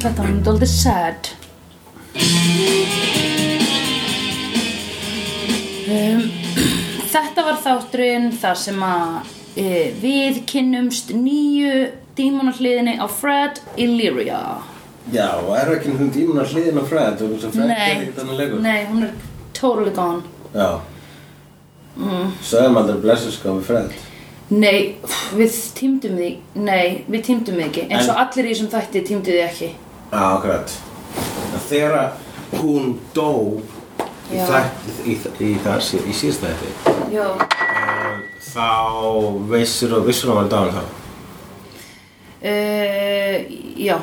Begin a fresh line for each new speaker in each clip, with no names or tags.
Þetta var náttúrulega sad um, Þetta var þátturinn þar sem að e, við kynnumst nýju dímonahliðinni á Fred Illyria
Já, og er ekki einhvern tímun að hliðin á Fred og þess að Fred er
Nei,
ekkert annað leikur
nei, hún er totally gone
Já mm. Sögum aldrei blessus kom við Fred
Nei, við týmdum því Nei, við týmdum því ekki eins og
En-
allir í þessum þætti týmdu því ekki
Já, akkurat En Þegar að hún dó í,
Já.
þætt, í, í, það, í síðast þætti
Já,
þá vissur og vissur hún var dáin þá
E, já.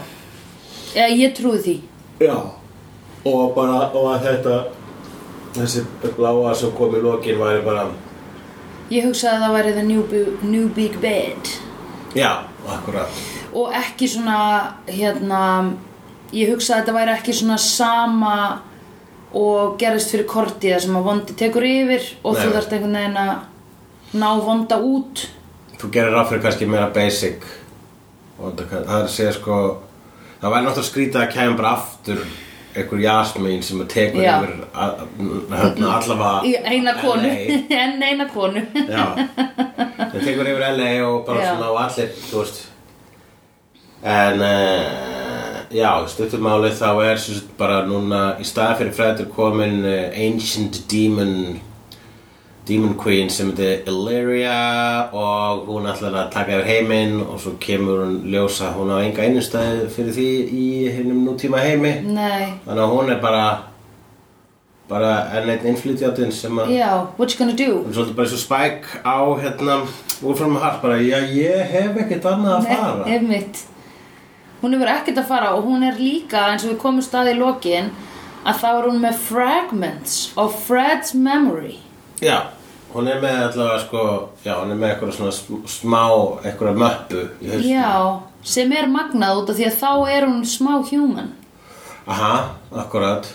Eh, Ég trúi því
Já og bara og að þetta þessi bláa sem kom í lokin væri bara
Ég hugsaði að það væri The New, Bu- new Big Bed
Já, akkurat
og ekki svona hérna ég hugsaði að þetta væri ekki svona sama og gerðist fyrir korti það sem að vondi tekur yfir og
Nei.
þú þarft einhvern veginn að ná vonda út
Þú gerir ráð fyrir kannski meira basic og þetta kann- það er að segja sko það væri náttúrulega skrítið að kæm bara aftur einhver jasmín sem að tekur
Já.
yfir að- hérna,
í
allavega
eina konu
LA.
en eina konu
Já Það tekur yfir LA og bara
Já.
svona og allir, þú veist En uh, já, stuttumálið þá er sem sagt, bara núna í staði fyrir fræður komin uh, Ancient Demon Demon Queen sem heitir Illyria og hún ætlar að taka yfir heiminn og svo kemur hún ljósa hún á enga einnustæði fyrir því í hinnum nútíma heimi
nei,
þannig að hún er bara bara enn einn innflytjátinn sem að
já, what you gonna do
Það er svolítið bara eins og Spike á hérna Wolfram Hart bara, já ég hef ekkert annað að fara
Nei, einmitt Hún hefur ekkert að fara og hún er líka eins og við komum stað í lokin að þá er hún með fragments of Fred's memory
Já, hún er með allavega sko, já hún er með eitthvað svona sm- smá, eitthvað möppu í hausnum.
Já, sem er magnað út af því að þá er hún smá human
Aha, akkurat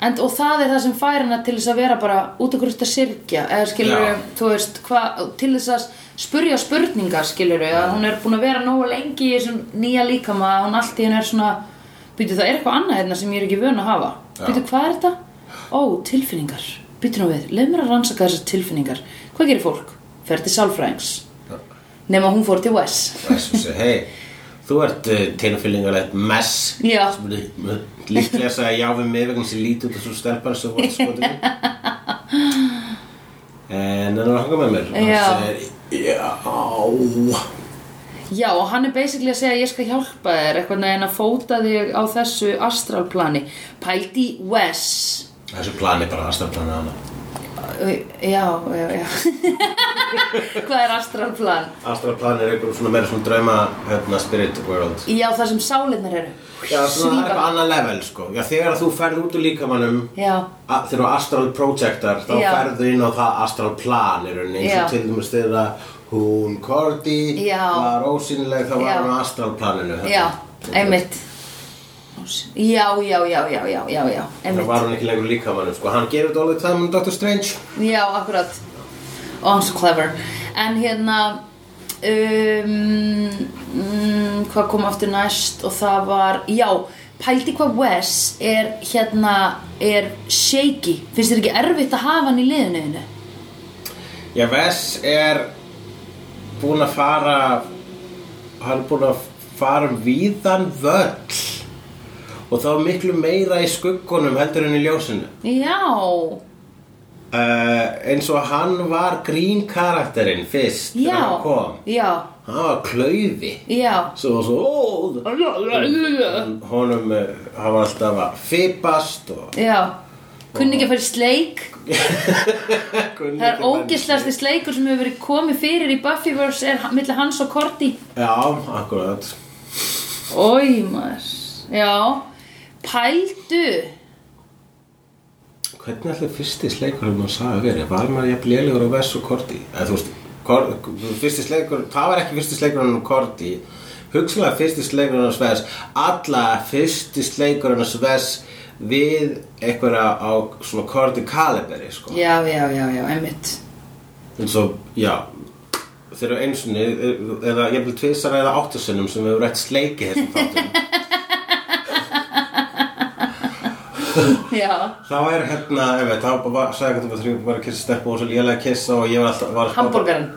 And, og það er það sem fær hana til þess að vera bara út af hverju þetta sirkja eða skilur
Já.
þú veist, hva, til þess að spurja spurningar skilur að hún er búin að vera nógu lengi í þessum nýja líkama að hún allt í henni er svona býtu það er eitthvað annað hérna sem ég er ekki vön að hafa
Já.
býtu hvað er þetta? Ó, tilfinningar, býtu nú við, leið mér að rannsaka þessar tilfinningar hvað gerir fólk? Fer til sálfræðings nema hún fór til Wes
Þessu sé, hei, þú ert uh, tilfyllingarlegt mess
Já.
Sem lí- m- Líklega sagði já við mig vegna sem lítið út af svo stelpar sem voru skoðið En hann var að hanga með mér og
Já.
hann segir, já
Já, og hann er basically að segja að ég skal hjálpa þér eitthvað neginn að fóta þig á þessu astralplani Pældi Wes
Þessu plani bara aðstafplani hana
Ö, Já, já, já Hvað er astralplan?
Astralplan er einhver svona meira svona drauma hérna, spirit world
Já, það sem sálinnar eru
Já, svona það er eitthvað
Svífa.
annað level sko Já, þegar þú ferð út úr líkamannum
Já,
a- þegar þú astral projectar þá
Já.
ferðu inn á það astral plan í rauninni
Já.
eins og til dæmis þegar hún Korti
Já.
var ósýnileg þá var
Já.
hún á hérna. astral planinu
já, einmitt Já, já, já, já, já, já, já,
Það
einmitt
var hún ekki lengur í líkamannum sko Hann gerir þetta alveg það með Dr. Strange
Já, akkurat Og hann er svo clever En hérna um, mm, Hvað kom aftur næst Og það var, já Pældi hvað Wes er hérna Er shaky Finnst þér ekki erfitt að hafa hann í liðinu þínu?
Já, Vess er búinn að fara hann er búinn að fara um víðan völl og þá miklu meira í skuggunum heldur en í ljósinu
Já
uh, eins og hann var grín karakterinn fyrst þegar
Já
hann kom
Já
hann var klaufi
Já
svo var svo ó, honum uh, hann var alltaf að fipast og
Já Kunni ekki að fara í sleik Það er ógislasti sleikur sem hefur verið komið fyrir í Buffyverse er milli hans og Korti
já, akkurat
Ói maður Já Pældu
Hvernig ætlaði fyrsti sleikurinn að sagði verið? Var maður jafn lélegur á Vess og Korti? Eða þú veist, kor, fyrsti sleikur, það var ekki fyrsti sleikurinn á Korti Hugsalega fyrsti sleikurinn á Vess Alla fyrsti sleikurinn á Vess við einhverja á svona Korti kaliberi sko.
Já, já, já, já, einmitt
En svo, já Þeir eru einsunni, eða jafnvel tvisar eða áttasinnum sem við hefur rétt sleikið þessum þáttum
já,
Þá er hérna, ef við, þá var, sagði ekki að þú var þrjú, bara að kissa stelpu og svo lélega kissa og ég var alltaf, var alltaf
hambúrgarinn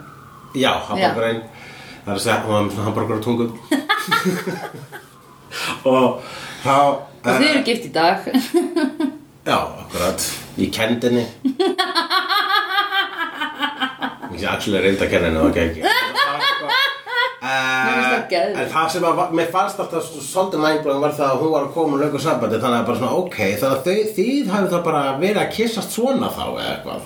Já, hambúrgarinn Það er að segja, hún var með svona hambúrgar á tungum Og þá
og þið eru gift í dag
Já, akkurat Ég kendi henni Ég actually reyndi að kenna henni, ok ekki
Mér finnst það
Uh,
geðveikt.
en það sem að, var- mér fannst alltaf svo- svolítið mindblowing var það að hún var að koma lögur sambandi þannig að bara svona ok, þannig að þau, þið hafið það bara verið að kissast svona þá eða eitthvað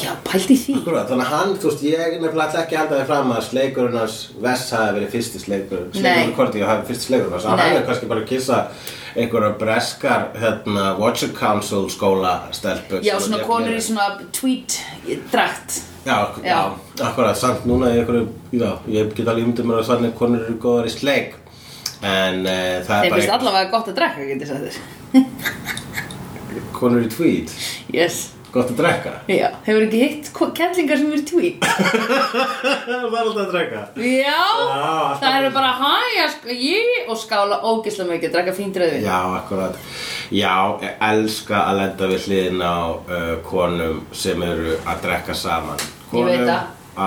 já, pældi í því
Akkurat, þannig að hann, þú veist, ég nefnilega ætla ekki að halda þig fram að sleikurinn hans Vess hafi verið fyrsti sleikur
Nei.
Sleikurinn Korti hafi fyrsti sleikurinn hans Hann
Nei.
hefði kannski bara að kissa einhverja breskar hérna, Watcher Council skóla stelpu
já,
sem
svona
að-
konur í svona tweet drakt
Já, já.
Já.
já akkurat, samt núna í einhverju, já, ég get alveg umdum mér að þannig konur eru góðar í sleik En uh, það
þeim
er
finnst
bara
allavega gott að drakka, getur sagt þér
konur í tweet
yes,
Gott að drekka
já, hefur ekki hitt ko- kellingar sem eru í tweet
Það er alltaf að drekka
já,
alltaf
það eru bara hæ, já, sk- ég og skála ógislega mikið, drakka fínt rauðvin
Já, akkurat Já, ég elska að lenda við hliðin á uh, konum sem eru að drekka saman Konum
veit það.
á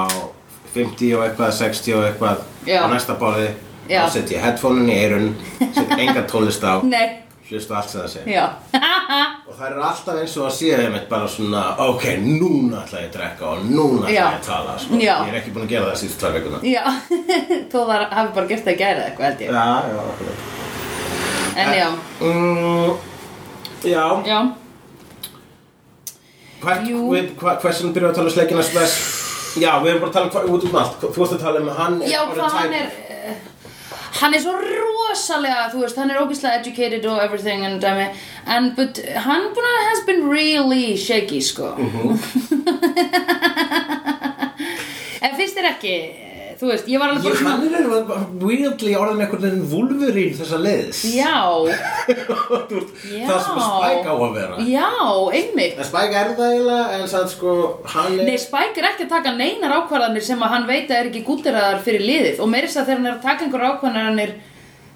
50 og eitthvað, 60 og eitthvað
Já.
á næsta borði
Já.
þá setja ég headphone-in í eirun set enga tónlist á
nei,
hlusta allt sem það segir
já
og það eru alltaf eins og að séu þeim bara svona ok, núna ætla ég að drekka og núna ætla
Já.
ég að tala sko.
Já.
ég er ekki búin að gera það síðustu tvær vikuna
já, þú var, hafi bara gert það að gæra eitthvað held ég,
Já, já, akkurat
en já
mm, Já,
já,
Hvert,
Jú.
við, hva, hversin byrjuðu að tala um sleikina spes? Já, við erum bara að tala um hvað, út um allt. Þú varst að tala um að hann er
Já,
bara
hvað hann er eh, hann er svo rosalega þú veist, hann er ógeðslega educated og everything and dæmi, en but hann búin að has been really shaky sko
Mhm.
en finnst þér ekki eh, þú veist, ég var alveg bara
Ég,
svona
hann er bara weirdly orðin einhvern veginn vulverín þessa leiðis.
já,
Þú ert-
já
það sem að Spike á að vera.
já, einmitt
En Spike er það eiginlega, en sann sko, hann er...
Nei, Spike er ekki að taka neinar ákvarðanir sem að hann veit að er ekki gúlderaðar fyrir liðið og meira þess að þegar hann er að taka einhver ákvarðanir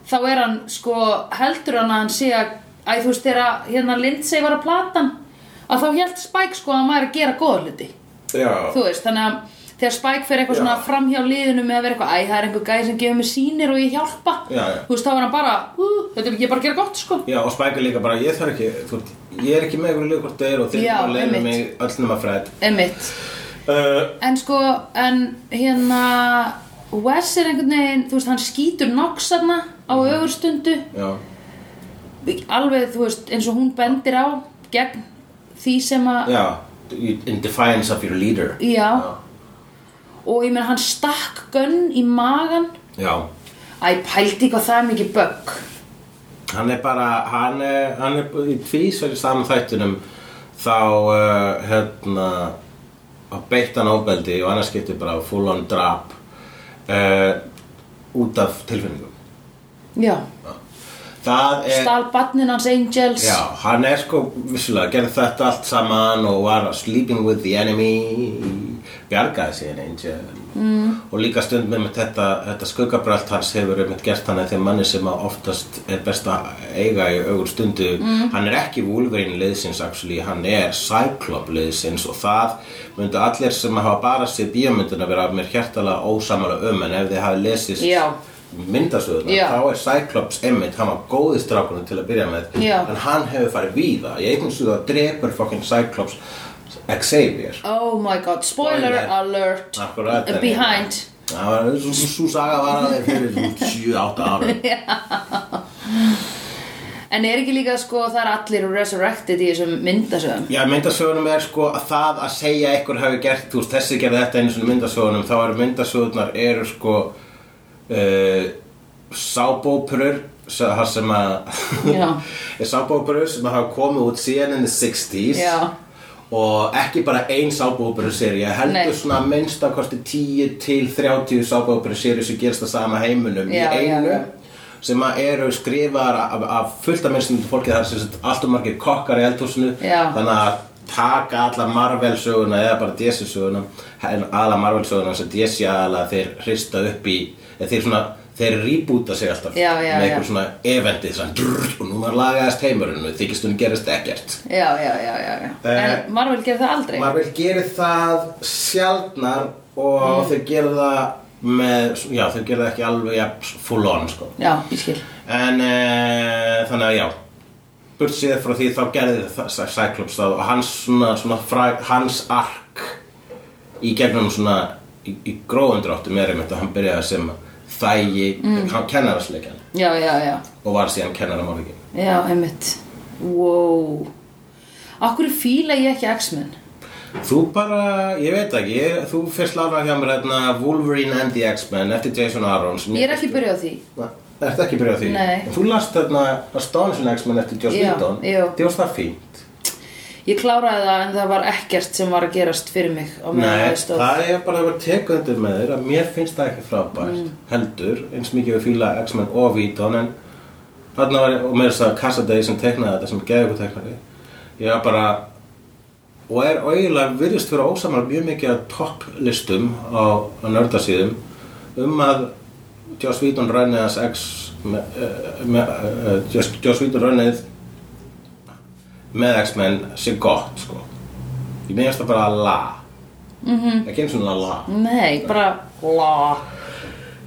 þá er hann sko heldur hann að hann sé að, æ, þú veist, þegar hérna Lindsay var að platan að þá held Spike sko að maður er að gera góða hluti
Já,
þú veist, þannig að þegar Spike fer eitthvað
Já.
svona fram hjá liðinu með að vera eitthvað, æ, það er einhver gæði sem gefur mig sýnir og ég hjálpa
Já, já.
þú veist, þá er hann bara, uh, þetta er ekki bara að gera gott sko
já, og Spike er líka bara, ég þarf ekki, þú veist, ég er ekki með einhverju liður hvort þau eru og þeir
Já,
bara leiðum mig
einmitt.
öll nema Fred.
Einmitt.
Uh,
En sko, en hérna Wes er einhvern veginn, þú veist, hann skýtur Nox þarna á
Mhm.
öfurstundu
já,
alveg, þú veist, eins og hún bendir á gegn því sem að
já, in defiance of your leader.
Já. og ég meina hann stakk gönn í magan
Já.
Æ, pældi hvað það er mikið bögg
Hann er bara, hann er, hann er í tvísverju saman þættunum þá, uh, hérna, að beitt hann ofbeldi og annars getur bara full on drap uh, út af tilfinningum.
Já,
Það er,
stal barnin hans Angels
Eh. já, hann er sko, vissulega, gerði þetta allt saman og var sleeping with the enemy, bjargaði sér Angel. Mm. Og líka stundum með þetta, þetta skuggabrölt hans hefur einmitt gert hann að þeim manni sem að oftast er best að eiga í augur stundu. Mm. Hann er ekki Wolverine liðsins, actually, hann er Cyclop liðsins og það myndu allir sem hafa bara séð bíómyndina vera mér hjertalega ósamala um en ef þið hafi lesist
Já.
myndasöðuna,
Já.
þá er Cyclops einmitt, hann var góðið strákunum til að byrja með
Já.
en hann hefur farið víða í einhvern stuðu að drepur fucking Cyclops Xavier
Oh my god, spoiler,
Spoiler.
alert Eh,
Akkurat, en-
Behind
það var svo- svo svo saga var að þeir fyrir 7-8 ára
En er ekki líka sko, það er allir resurrected í þessum myndasöðum
Já, myndasögunum er sko að það að segja einhver hafi gert, þú veist, þessi gerði þetta einu svona myndasögunum, þá eru myndasögunar eru sko uh, sábópurur það sem að
Já.
er sábópurur sem hafa komið út síðan in the 60s
Já.
og ekki bara ein sábópurur serið, heldur
Nei.
svona minnst að kosti 10 til 30 sábópurur serið sem gerist að sama heiminum
Já,
í einu
já, já.
sem að eru skrifaðar af, af fullt af minnstum fólkið þar sem sagt allt og margir kokkar í eldhúsinu
Já.
þannig að taka alla Marvel söguna eða bara DC söguna en alla Marvel söguna sem DC aðalega þeir hrista upp í eða þeir svona þeir rýbúta sig alltaf
Já, já,
með einhver
já.
svona eventið svona, drrr, og núna lagaðist heimurinn og þykist hún gerist ekkert
já, já, já, já, já.
Eh,
en Marvel gerir það aldrei
Marvel gerir það sjaldnar og
Mm.
þeir gera það með, já þeir gera það ekki alveg ja, full on sko
já, ég skil
En e, þannig að já Burt séð frá því þá gerði það Cy- Cyclops það og hans svona, svona fra, hans ark í gegnum svona í, í gróðundráttum er einmitt að hann byrjaði sem þægi,
Mm.
hann kennarasleikjan
já, já, já,
og var síðan kennaramorðingin
já, einmitt wow okkur fíla ég ekki X-Men
Þú bara, ég veit ekki, ég, þú fyrst lára hjá mér hérna Wolverine and the X-Men eftir Jason Aaron sem
ég er ekki byrjuð á því
Na, ertu ekki byrjað á því?
Nei.
En Þú last þarna Astonishing X-Men eftir Joss
Já,
Whedon
já.
Því varst það fínt
ég kláraði það en það var ekkert sem var að gerast fyrir mig á meðan
Nei,
það stóð.
það er bara að vera tekundur með þér að mér finnst það ekki frábært
Mm.
heldur, eins mikið við fíla X-Men og Víton en þarna var og með þess að Kassadegi sem teiknaði þetta sem geði ykkur teiknari ég var bara og er auðvitað virðist vera ósamar mjög mikið að topplistum á, á nördasíðum um að Joss Víton rænnið hans X með, með, uh, Joss, Joss Víton rænnið með X-Men sé gott sko ég meðast það bara að la ekki eins og la
nei, bara la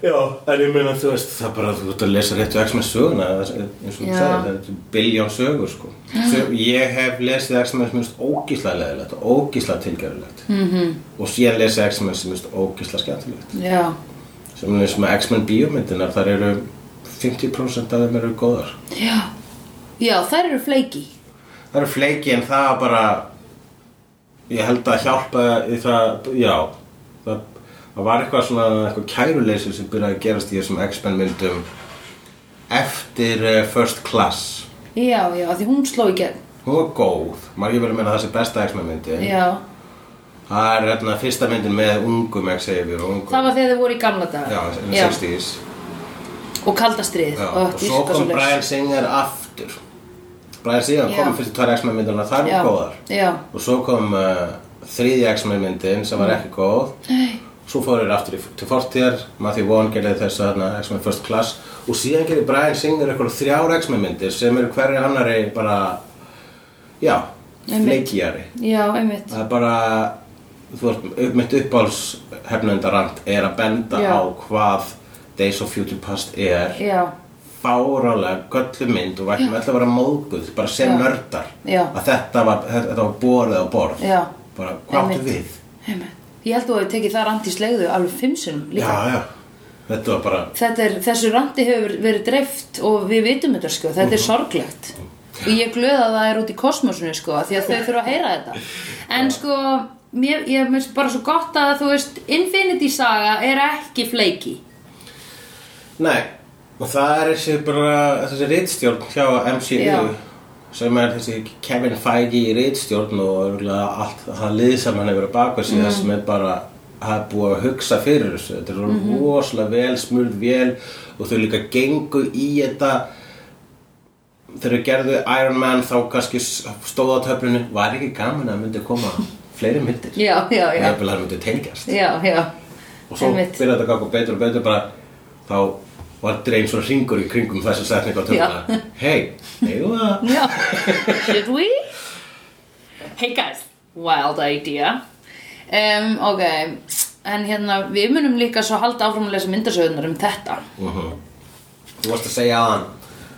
Já, en ég meina þú veist það er bara þú ert að lesa réttu X-Men söguna eða eins og þú
Já.
sagði, það er biljón sögur sko. Sö- Ég hef lesið X-Men sem minnst ógísla leðilegt og ógísla tilgerulegt -hmm. og síðan lesið X-Men sem minnst ógísla skemmtilegt
já,
sem er sem að X-Men bíómyndinar þar eru 50% af þeim eru góðar
já já, þær eru fleiki
Það eru fleiki en það var bara ég held að hjálpa í það, já það, það var eitthvað svona eitthvað kæruleysi sem byrjaði að gerast í þessum X-Men myndum eftir uh, First Class
já, já, af því hún sló í gegn
hún var góð, margir verið að meina að það sé besta X-Men myndi
já,
það er hérna fyrsta myndin með ungum X-Savior og ungum
það var þegar þau voru í gamla daga
já, en 60s
og kaldastrið
já. og svo kom Brian Singer aftur Brian Singer
Já.
kom fyrst tvær X-Men myndina þar
já,
var góðar
já,
og svo kom uh, þriðja X-Men myndin sem
Mm.
var ekki góð Nei. svo fóru þeir aftur í, til fortíðar Matthew Vaughn gerði þess að X-Men First Class og síðan gerði Brian Singer eitthvað þrjár X-Men myndir sem eru hverri annari bara já,
Einmitt.
fleikjari
já, einmitt
það er bara þú veist, upp, mitt uppáls hefnundarand er að benda
Já.
á hvað Days of Future Past er
já,
fárálega göllu mynd og væktum alltaf að vera móðguð bara sem
Já.
nördar
Já.
að þetta var, þetta var borðið á borð
Já.
bara hvað áttu
Einmitt.
við
einmitt ég held að þú hefði tekið það randi í slegðu alveg fimm sinnum
já,
líka
já. þetta var bara
þetta er, þessu randi hefur verið dreift og við vitum þetta sko, þetta er sorglegt og ég er glöð að það er út í kosmosinu sko, af því að þau þurfa að heyra þetta en sko, mér, ég finnst bara svo gott að þú veist, Infinity Saga er ekki fleiki
nei, og það er þessi bara þessi reitstjórn hjá MCU
Já.
sem er þessi Kevin Feige í reitstjórn og örugglega allt það lið sem hann hefur að baka sig
Mhm.
það sem er bara það er búið að hugsa fyrir þessu þetta er
Mhm.
rosalega vel, smurð vel og þau líka gengu í þetta þegar þau gerðu Iron Man þá kannski stóð á töflunni var ekki gaman að myndi koma fleiri myndir
já, já,
og
já,
jafnvel að það myndi tengjast
já, já
og svo
Einmitt.
byrjaði þetta að ganga betur og betur bara þá var þetta eins og ringur í kringum þessu setning á töfluna
Já.
hei, eigum við það
já. should we? hey guys, wild idea um, ok en hérna, við munum líka svo halda áfram að lesa myndasöðunar um þetta
þú varst að segja aðan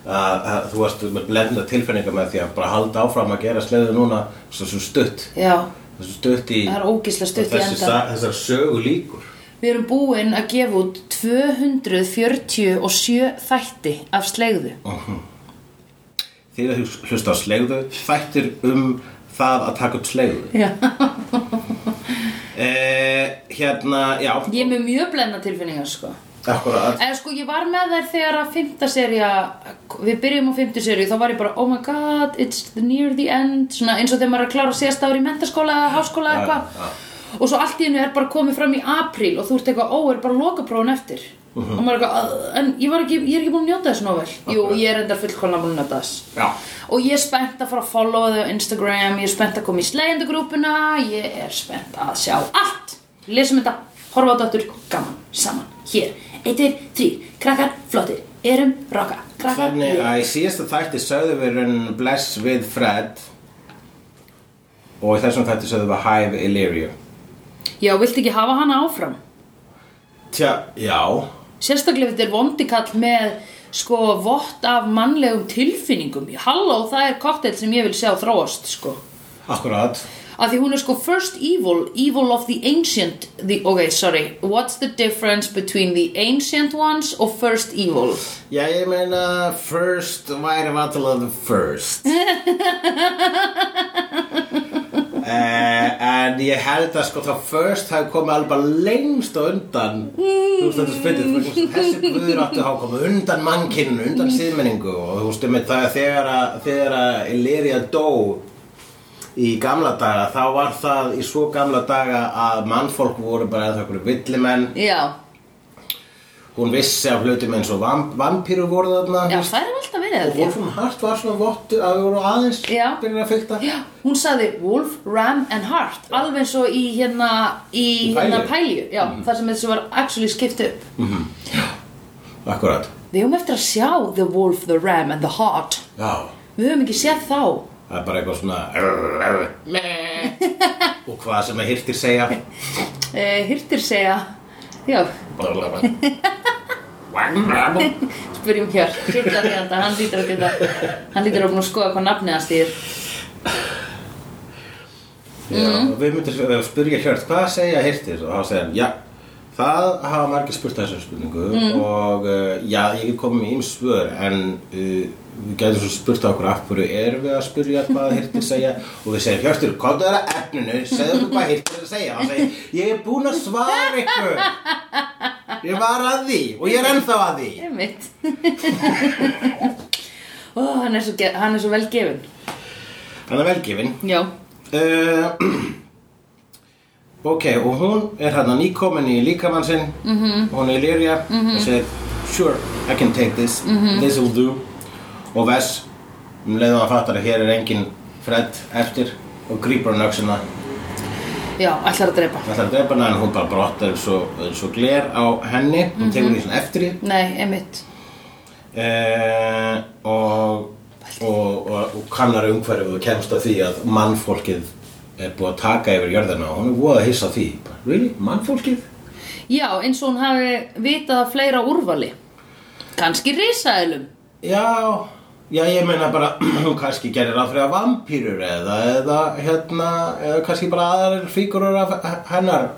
að, að þú varst með blenda tilfinningar með því að bara halda áfram að gera sleðu núna svo, svo stutt
já,
þessu stutt í,
Það er ógeðslega stutt í
þessi
enda.
sa- þessar sögu líkur
Við erum búin að gefa út 247 þætti af slegðu.
því að hlusta á slegðu þættir um það að taka upp slegðu
Já.
eh, hérna, já
Ég er með mjög blenda tilfinningar, sko.
akkurat
En sko, ég var með þær þegar að fymta serja, við byrjum á fymta serju, þá var ég bara, oh my god, it's the near the end, svona eins og þegar maður er að klára síðast ári í mentaskóla eða háskóla eða
Já,
eitthvað.
já.
Og svo allt í hennu er bara komið fram í apríl og þú ert eitthvað, ó, er bara lokaprófun eftir. Og maður er eitthvað, "Ugh," en ég, var ekki, ég er ekki búin að njóta þess nóvel. Jú,
Mhm. Akkurat.
ég er endar fullkvæmlega búin að njóta þess.
já,
Og ég er spennt að fara að followa þau á Instagram, ég er spennt að koma í slegjendagrúpuna, um ég er spennt að sjá allt. Lesum þetta, horfa á dottur, gaman, saman, hér,
1, 2, 3, krakkar, flottir, erum, rocka, krakkar,
Þannig að í síðasta þætti sögðum við raun Bless with Fred og í þessum þætti sögðum við Hive Illyrium
Já, viltu ekki hafa hana áfram?
Tja, já
Sérstaklega þetta er vondikall með sko vott af mannlegum tilfinningum. Halló, það er koktel sem ég vil sjá þróast, sko.
Akkurat
Af því hún er sko first evil, evil of the ancient, the, ok, sorry, what's the difference between the ancient ones og first evil?
Já, ég meina first væri vantilega the first Eh, en ég held að sko þá first hafi komið alveg bara lengst á undan þú veist þetta er spytið þú veist, þessi guður áttu að hafa komið undan mannkinu undan síðmenningu og þú veist um það að þegar að, þegar að Illyria dó í gamla daga þá var það í svo gamla daga að mannfólk voru bara eða einhverju villimenn
Já,
hún vissi af hlutum eins og vamp vampíru voru þarna
já, það er alltaf verið
og
að því.
Wolfram Hart var svona vottu að við voru aðeins
Já.
byrjun að fylta
Já, hún sagði Wolf, Ram and Heart, alveg eins og í hérna, í
Í Mm.
hérna
pælju.
pælju, já, þar sem þessi var actually skipt upp.
Akkurat
Við höfum eftir að sjá The Wolf, The Ram and The Heart.
Já,
Við höfum ekki séð þá.
það er bara eitthvað svona rrr, rrr, meh, og hvað sem að hirtir segja
Eh, hirtir segja, já, spyrjum hér, hittar því að hann lítur að geta, hann lítur að búin að skoða hvað nafnið hans þýr.
Já, Við myndum að spyrja hjört hvað segja hirtir og þá segja hann já Það hafa margir spurt þessum spurningu og uh, já, ég get komið með ýmis svör en uh, við getum svo spurt á okkur af hverju erum við að spyrja hvað hirtir segja og við segjum hjörtur, komdu þér að efninu, segðu okkur hvað hirtir að segja og hann segir, ég er búinn að svara ykkur Ég var að því og ég er ennþá að því
Einmitt. Ó, hann er svo, ge- hann er svo vel gefinn.
Hann er velgefin
Já.
Uh, ok, og hún er hérna nýkomin í líkamann sinn -hmm. hún er í lirja og segir sure, I can take this, this will do og Vess um leiðum að fattar að hér er engin Fred eftir og grípur hann öxina
Já, ætlar að drepa.
ætlar að drepa hana en hún bara brottar eins og, eins og gler á henni hún tekur því svona eftir því
Nei, einmitt.
uh, og, og, og, og kannar umhverfið og kemst að því að mannfólkið er búið að taka yfir jörðina og hún er voða að hissa á því Bara, really? mannfólkið?
Já, eins og hún hafi vitað að fleira úrvali. Kanski risaðilum.
já, já ég meina bara hún kannski gerir ráð fyrir að vampýrur eða, eða hérna eða kannski bara aðrar fígurur af hennar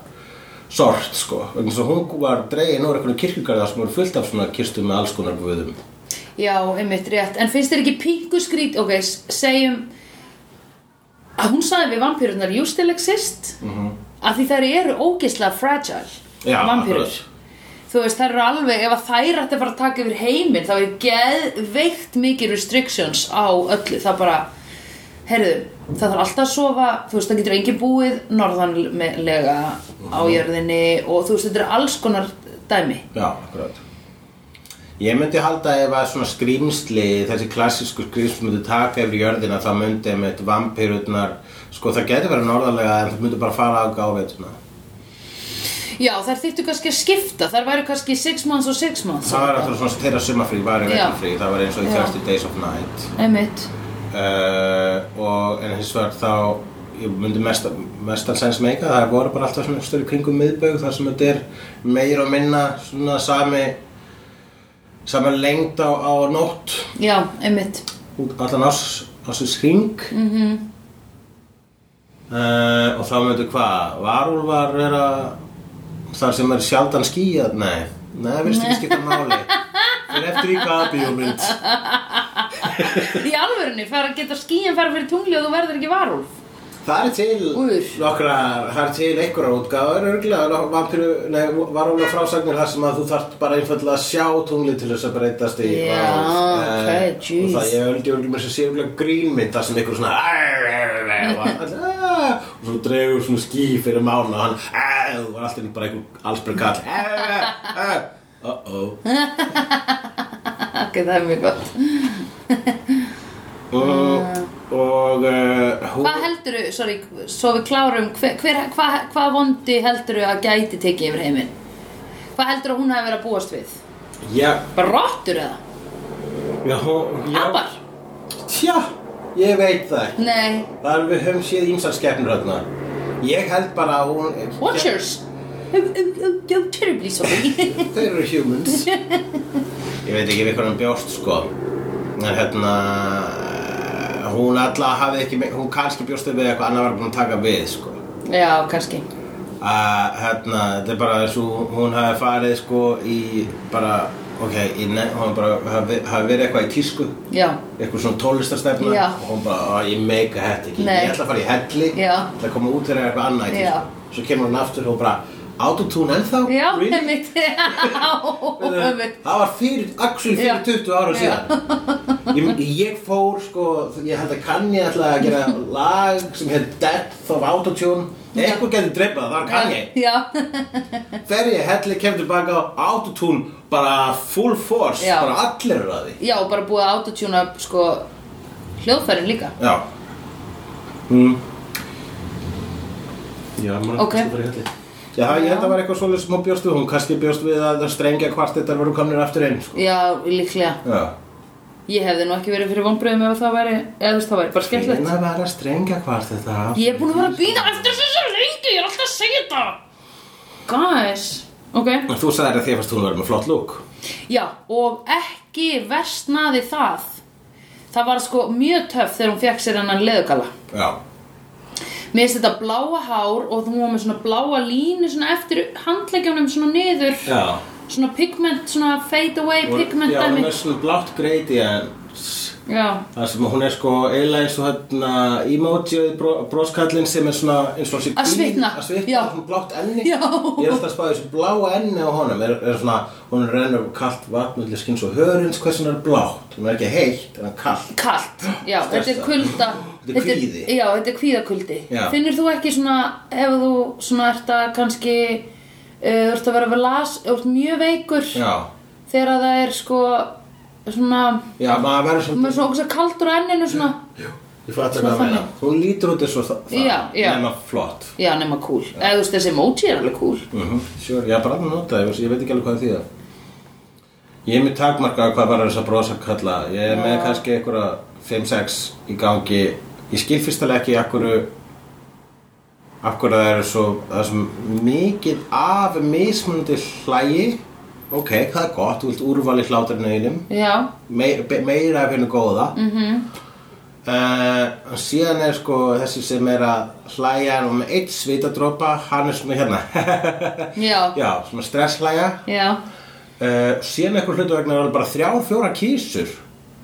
sort sko eins og hún var dregin úr einhvern kirkjugarða sem voru fullt af svona kirstum með alls konar guðum
Já, einmitt rétt. En finnst þér ekki pingu skrít, ok, s- segjum að hún sagði við vampýrunar you still exist -hmm. að því þær eru ógeðslega fragile
Mhm. Já,
vampýrur.
akkurat.
Þú veist, þær eru alveg, ef að þær ætti að fara að taka yfir heiminn þá er geðveikt mikið restrictions á öllu. Það bara, heyrðu, það þarf alltaf að sofa, þú veist, það getur engin búið norðanlega á
Mhm.
jörðinni og þú veist, þetta er alls konar dæmi.
Já, akkurat Ég myndi halda ef að svona skrýmsli þessi klassísku skrýmsli myndi taka yfir jörðina þá myndi með vampirutnar sko það getur verið norðarlega en það myndi bara fara að gáveituna
Já, þær þyrftu kannski að skipta, þær væru kannski six months og six months
Það var alltaf svona þeirra sumafrí var í
Já.
vekkafrí það var eins og í
Já.
30 Days of Night
Einmitt
uh, og en hins vegar þá ég myndi mest, mestan sens meika það voru bara alltaf svona störu kringum miðbögg þar sem þetta er meir og minna svona sami sami lengd á, á nótt
Já, einmitt
út allan ás, ásins hring mm -hmm. uh, og þá myndu hvað varúlfar vera þar sem er sjaldan skýjað nei, nei, við ekki skipta máli fyrir eftir í hvaða bíómynd
Í alvörunni, fer að geta skýin fara fyrir tungli og þú verður ekki varúlf
það er til
Úr.
nokkra, það er til einhverjar útgáður örgulega, vampiru, nei, varúlega frásagnir þar sem að þú þarft bara einfallega að sjá tungli til þess að breytast í
Já,
varúlf.
ok,
Eh,
jeez.
og það ég held ég örgulega mér sem sé örgulega grínmynd þar sem einhver svona "Arr, arr, arr", og allir, "Ah", og svo dregur svona ský fyrir mánu og hann "Ah", og var alltaf bara einhver allsbjörn kall "Ah, ah, ah." uh-oh
Ok, það er mjög gott
og, og uh, hún
Hvað heldurðu, sorry, svo við klárum hver, hver, hva, Hvað vondi heldurðu að gæti tekið yfir heiminn? Hvað Hvað heldur að hún hafi verið að búast við?
Já,
Bara rottur eða?
já, já.
Abar?
Tja, ég veit það ekki.
Nei,
Það er við höfum séð ímsar skepnur hérna. Ég held bara að hún...
Watchers Um,
I'm terribly sorry.
Þeir eru humans. ég veit ekki við hvernig hann bjóst, sko. En hérna... Hún alltaf hafði ekki... Hún kannski bjóst við eitthvað annar var búin að taka við, sko.
Já, kannski
að hérna, þetta er bara þessu hún hafi farið sko í bara, ok, í nefn hún bara hafi, hafi verið eitthvað í tísku
Já,
eitthvað svona tólestarstefna
Já.
og hún bara, "Á, ég meika þetta ekki
Nei.
ég ætla að fara í helli,
Já.
ætla að koma út þegar eitthvað annað í tísku
Já.
svo kemur hún aftur og bara, autotune ennþá
já,
Really?
einmitt Já, einmitt
það var fyrir, axil fyrir
Já.
20 ára
Já.
síðan ég, ég fór sko, ég held að Kanye ætlaði að gera lag sem hefði Death of Autotune eitthvað getur dreipað, það var Kanye
Já,
Þegar ég helli kem tilbaka á autotune bara full force,
Já.
bara allir eru að því
já, bara búið að autotuna sko hljóðfærin líka
Já mm. Já, maður
Ok.
fara í helli Já, ég held að það var eitthvað svoleið sem hún bjóst við, hún kannski bjóst við að það strengja hvart þetta voru komnir aftur einn sko.
Já, líklega
Já
Ég hefði nú ekki verið fyrir vonbröðum ef það væri eða þú veist það væri bara skemmtilegt
Hérna var að strengja hvart þetta aftur.
Ég er búin að vera að býða eftir þessu svo lengi Ég er alltaf að segja þetta Guys, ok
En Þú sagðir að því fannst hún verið með flott lúk
Já, og ekki versnaði það Það var sko mjög töff þegar hún fekk sér hennan leðugala
Já
Mér finnst þetta bláa hár og þú var með svona bláa línu svona eftir handleggjónum svona niður
Já
Svona pigment, svona fade away pigment
Já, hún
dæmi
er svona blátt greiti en
Já,
Það sem hún er sko eiginlega eins og hérna emojiðið bró, bróskallin sem er svona eins og sér
Að svitna.
Að svitna,
Já.
svona blátt enni
Já.
Ég er alltaf að spáði þessu bláa enni á honum er, er svona, hún er rennur kallt vatn millir skins og hörins hversu hún er blátt Hún er ekki heitt, en kallt
kalt Já,
Stressað.
þetta er kulda
Þetta er kvíði.
Já, þetta er kvíðakuldi
Já.
Finnur þú ekki svona ef þú svona ert að kannski uh, ert að vera við las ert mjög veikur
Já,
þegar að það er sko svona
já, maður
maður
verður svona
er svona okkur kaldur á enninu svona
Ég fatt að hvað að meina Hún lítur út þessu það,
Já, já.
nema flott
Já, nema cool Eða þú veist þessi emoji er alveg cool
mm -hmm. Sure, já, bara að nota, það, ég, veist- ég veit ekki alveg hvað því það Ég er mjög takmarkað hvað bara þess að brosa kalla Ég er með kannski einhverja 5-6 í gangi Ég skil fyrstilega ekki akkur Akkur að það eru svo, það er svo mikið af mismunandi hlægi Ok, það er gott, þú vilt úrvali hláturinn einum
Já,
meir, be- meira af hennu góða mm -hmm. síðan er sko þessi sem er að hlæja og með eitt svitadropa hann er svona hérna
já, já,
já, svona stresshlæja
já,
uh, síðan eitthvað hlutu vegna er alveg bara þrjá, fjóra kísur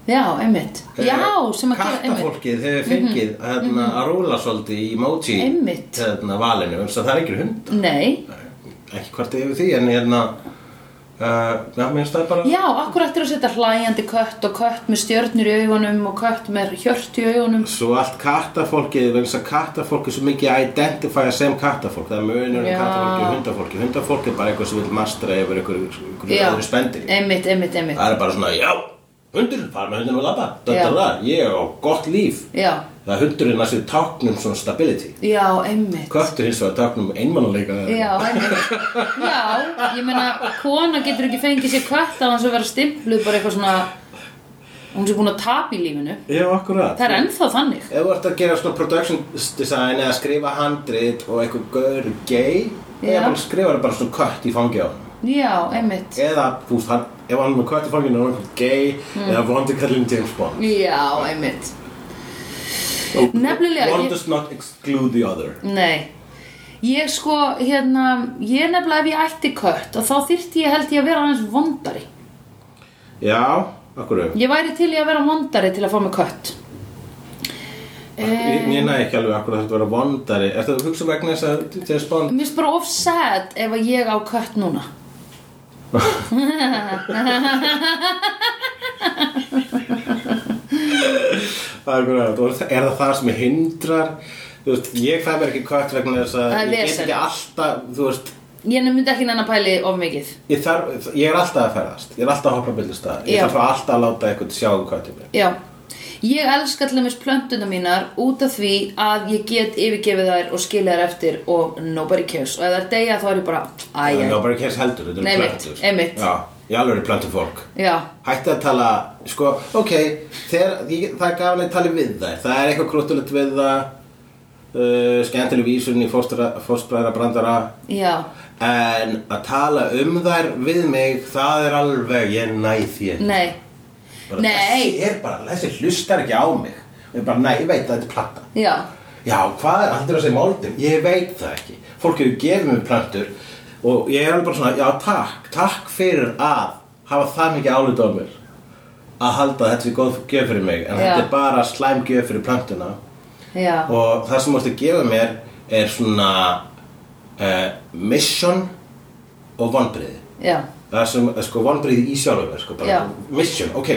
einmitt
Eh,
Já, sem að gera einmitt Mhm,
kattafólkið hefur fengið hérna, að rúla svolítið í móti
Einmitt.
hérna, valinu, þannig að það er ekki hund
Nei,
ekki hvort yfir því en hérna uh, já, mér finnst það bara
já, akkur eftir að setja hlæjandi kött og kött með stjörnur í augunum og kött með hjört í augunum
Svo allt kattafólkið, vegna þess að kattafólk er svo mikið að identifæja sem kattafólk Það er munur um
Já.
kattafólki og hundafólki Hundafólk er bara eitthvað sem vil mastra yfir einhverju
Já,
gröður spendir
einmitt, einmitt, einmitt
Það er bara svona, já, hundur, fara með hundurinn og labba Þetta
Já.
er það, ég á gott líf
Já,
Það er hundurinn að sér táknum svona stability
já, einmitt
Köttur hins vegar táknum einmannuleika
Já, einmitt Já, ég meina, kona getur ekki fengið sér kött af hans að vera stimpluð bara eitthvað svona hún sé búin að tapa í lífinu
Já, akkurat
Það er ennþá þannig
Ef þú ert að gera svona production design eða skrifa handrit og eitthvað gaur er gay
Já.
eða bara skrifar bara svona kött í fangi á hann
Já, einmitt
eða, þú veist, hann, ef hann er með kvætti fanginu og einhvern gay
Hmm.
eða vondi kallin James Bond
Já, einmitt
Og
Nefnilega,
One
ég-
does not exclude the other
Nei Ég sko, hérna, ég nefnilega ef ég ætti kött og þá þyrfti ég held ég að vera aðeins vondari
Já, okkur ég,
Ég væri til ég að vera vondari til að fá mig kött
ég, ég næ ekki alveg okkur þetta vera vondari Er þetta að hugsa um vegna þess að James Bond
Mér finnst bara of sad ef að ég á kött núna
Það er okkur að, og er það það sem hindrar Þú veist, ég fæ mér ekki kvætt vegna þess að
Það er
Ég get
vesen.
ekki alltaf, þú veist
Ég nefnum myndi ekki nennan pæli of mikið
Ég, þarf, ég er alltaf að ferðast, ég er alltaf að hoppa byrðu staðar Ég
Já.
þarf alltaf að láta eitthvað sjá um hvað til mér
Já Ég elska til dæmis plöntuna mínar út af því að ég get yfirgefið þær og skilja þær eftir og nobody cares. Og ef þær deyja þá er ég bara, æj,
Það er
æj,
bara kærs heldur, þetta
Nei,
er
einmitt,
plöntur sko.
einmitt.
Já, ég alveg er plöntu fólk
já,
Hætti að tala, sko, ok, þegar, ég, það er gafan að tala við þær Það er eitthvað krúttulegt við það uh, Skemmtileg vísun í fórstbræðra brandara
já,
En að tala um þær við mig, það er alveg, ég næ því ekki.
nei,
bara,
Nei.
Þessi er bara, þessi hlustar ekki á mig Og ég bara, nei, ég veit að þetta er platta
já,
Já, hvað er alltaf að segja máldum? Ég veit það ekki. Fólk hefur gefið mér plantur og ég er alveg bara svona, já takk, takk fyrir að hafa það mikið álið á mér að halda að þetta sé góð gjöf fyrir mig en
Já.
þetta er bara slæm gjöf fyrir plantuna
já,
og það sem mástu gefa mér er svona uh, mission og vonbriði
já,
það sem, eh, sko, vonbriði í sjálfum mér, sko, bara
Já.
mission, ok,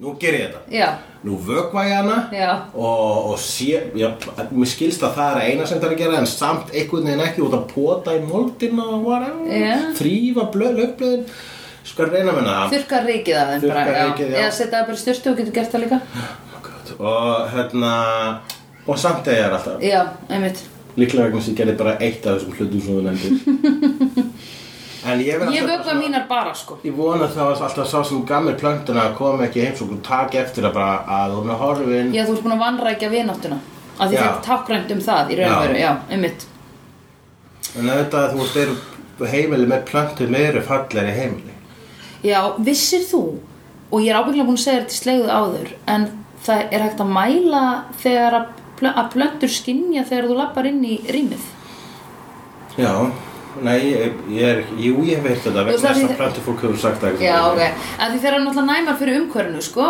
nú ger ég þetta
já,
nú vökva ég hana
Já.
og, og sé, já, mér skilst að það er eina sem það er að gera en samt einhvern veginn ekki út að pota í moldina og whatever,
Já.
þrýfa lögblöðin, sko að reyna með það
þurrka ríkið að þeim bara,
Þurrka
já,
rykið, já.
eða setja það bara í styrtu og getur gert það líka,
Oh God. og hérna og samt eða ég er alltaf
já, einmitt.
líklega vegna sem ég gerði bara eitt af þessum hlutum sem þú nefndir en ég verð
Ég
alltaf
vögva mínar bara, sko.
Ég vona að það var alltaf sá sem gammir plöntuna að koma ekki heims og taka eftir að bara að hún er horfin
Já, þú ert búin að vanrækja vináttuna að því
Já.
þetta er tákrænt um það í raun og
Já.
veru, já, einmitt
En auðvitað þú styrir heimili með plöntum eru fallegri heimili.
Já, vissir þú og ég er ábygglega búin að segja þetta í slegðu áður en það er hægt að mæla þegar að, plö að plöntur skinja þegar þú lappar inn í rýmið
Já, nei, ég, ég er, jú, ég hef veit
Þú
þetta, vegna
sagði
þess að
þið-
plöntufólk hefur sagt það.
Já, ok, að því þeir eru náttúrulega næmar fyrir umhverfinu, sko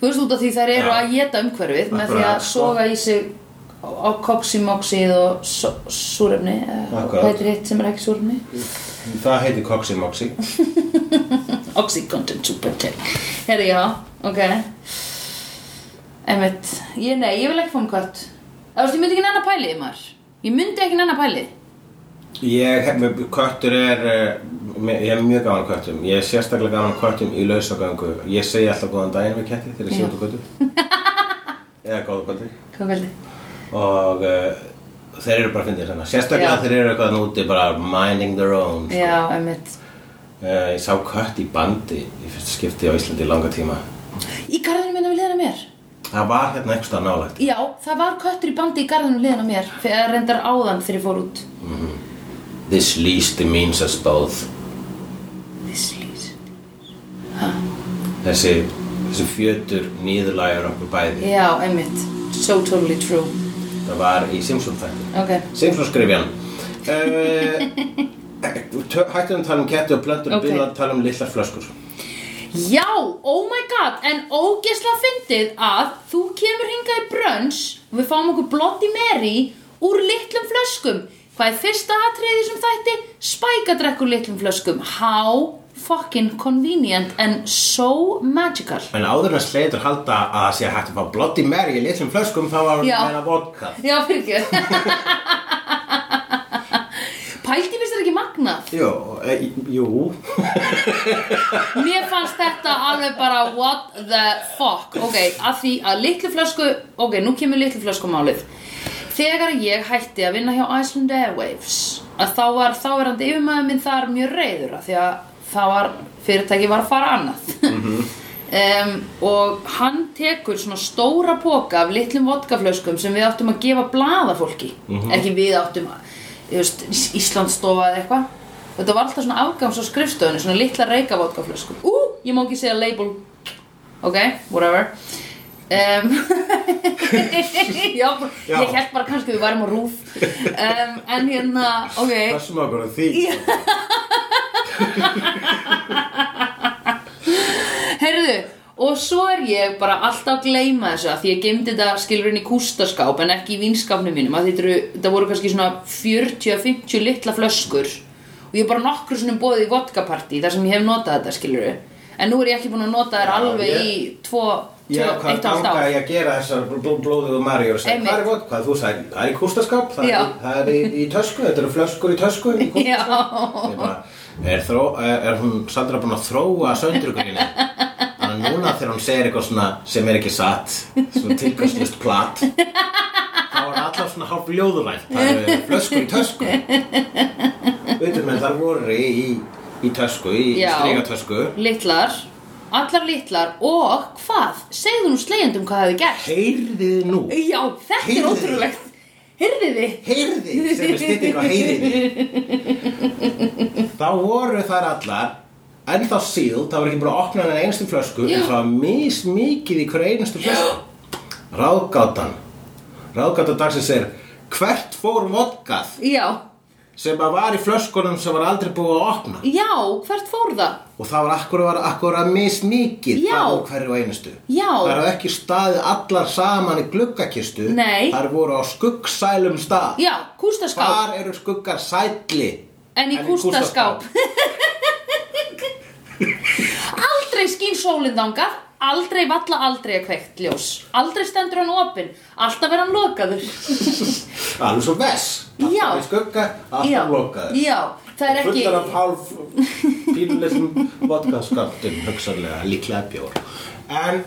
Þú veist út af því þær eru
Já.
að geta umhverfið með því
Akkurat,
að
sko.
soga í sig á- á koksimoxið og so- súrefni eða
Akkurat.
hvað heitir hitt sem er ekki súrefni
Það heitir Coximoxi.
Oxycontin Supertech Herri, já, ok Einmitt, ég nei, ég vil ekki fá mig kött Það veist, ég myndi ekki nenn að pæli þið maður Ég myndi ekki nenn að pæli
Ég, hef- með- köttur er, eh, me- ég er mjög gaman af köttum. Ég er sérstaklega gaman af köttum í lausagöngu. Ég segi alltaf góðan daginn við ketti þegar ég sé
Já.
út á köttu. Eða góða köttu.
Hvað veldi?
Og uh, þeir eru bara að finna þess Sérstaklega
Já.
þeir eru eitthvað núti bara minding their own. sko.
Já, einmitt
Eh, Ég sá kött í bandi í fyrsta skipti á Íslandi í langa tíma.
Í garðinu minna við liðina mér
Það var hérna einhvers staðar nálægt.
Já, það var köttur í bandi í garðinu við liðina mér Þegar reyndar áðan þegar ég fór út
This least means us both.
This leaves
Þessi, þessi fjötur nýðurlægur okkur bæði.
Já, einmitt So totally true
Það var í Simpson þætti.
Ok,
Simpson skrifjan. Uh, hættum að tala um ketti og plöntur
Ok.
og okay. byrjum að tala um litlar flöskur.
Já, oh my god, en ógesla fyndið að þú kemur hingað í brönns og við fáum okkur Bloody Mary úr litlum flöskum. Hvað er fyrsta atriðið sem þætti? Spækadrekk úr litlum flöskum. How fucking convenient and so magical.
En áður en sleitur halda að það sé hægt að fá Bloody Mary í litlum flöskum þá var
Já.
það meina vodka.
Já, fyrir ekki. Pældi fyrst er ekki magnað.
Jú, e, jú.
Mér fannst þetta alveg bara what the fuck Ok, að því að litlu flösku Ok, nú kemur litlu flösku málið Þegar ég hætti að vinna hjá Iceland Airwaves að þá var þáverandi yfirmaður minn þar mjög reyður að því að það var fyrirtæki var að fara annað um, og hann tekur svona stóra póka af litlum vodkaflöskum sem við áttum að gefa blaðafólki ekki við áttum að þú veist, Ís- Íslandsstofa eða eitthvað þetta var alltaf svona afgangs á skrifstöðunni svona litla reyka vodkaflöskum ú, ég má ekki segja label ok, whatever um, já,
Já.
ég held bara kannski við værum á rúf um, en hérna, ok
Passum okkur á því.
Herðu, og svo er ég bara alltaf að gleyma þessu að því ég gemdi þetta skilur inn í kústaskáp en ekki í vinskapnum mínum að þetta, eru, þetta voru kannski svona 40-50 litla flöskur og ég er bara nokkur svona bóðið í vodkapartí þar sem ég hef notað þetta skilur en nú er ég ekki búin að nota þær
Já,
alveg
ég-
í tvo,
Ég
tvo,
ákvað að
eitt og allt
ganga
ár
í að gera þessar bl- bl- blóðugu Maríu og segja,
Einmitt.
hvað er vodka? Þú sagði, það er í kústaskap, það
Já.
er, það er í, í tösku, þetta eru flöskur í tösku. Í kú-
Já,
Ég bara, er, þró, er, er hún Sandra búin að þróa söndrugunina? Þannig að núna annað þegar hún segir eitthvað svona sem er ekki satt svona tilkastlust plat þá er allar svona hálf ljóðurætt það eru flöskur í tösku veitum við þar voru í, í tösku, í
Já.
strígatösku
Littlar, allar littlar og hvað? Segðu nú slegjendum hvað hefði gert
heyrðið nú
Já, þetta er
Heyrðu.
ótrúlegt Heyrðið þið?
heyrðið sem er stytting á heyrðið þá voru þar allar ennþá síld, það var ekki búin að opna hennar einustu flösku en það var mis mikið í hverju einustu flösku ráðgátan ráðgátan dagsins er hvert fór vodkað
Já,
sem að var í flöskunum sem var aldrei búið að opna
já, hvert fór það?
og það var akkur var akkur að mis mikið
Já.
það á hverju einustu
Já.
það eru ekki staðið allar saman í gluggakistu
Nei.
þar voru á skuggsælum stað
Já, kústaskáp
Hvar eru skuggar sætli?
En í kústaskáp Aldrei skín sólinn þangað Aldrei valla aldrei er kveikt ljós Aldrei stendur hann opinn Alltaf er hann lokaður
Alveg svo vess. Alltaf
Já.
í skugga,
Já,
alltaf lokaður.
Já, það er ekki
Fullar af hálf pínulegum vodkaskaptum, hugsanlega, líklega bjór. En,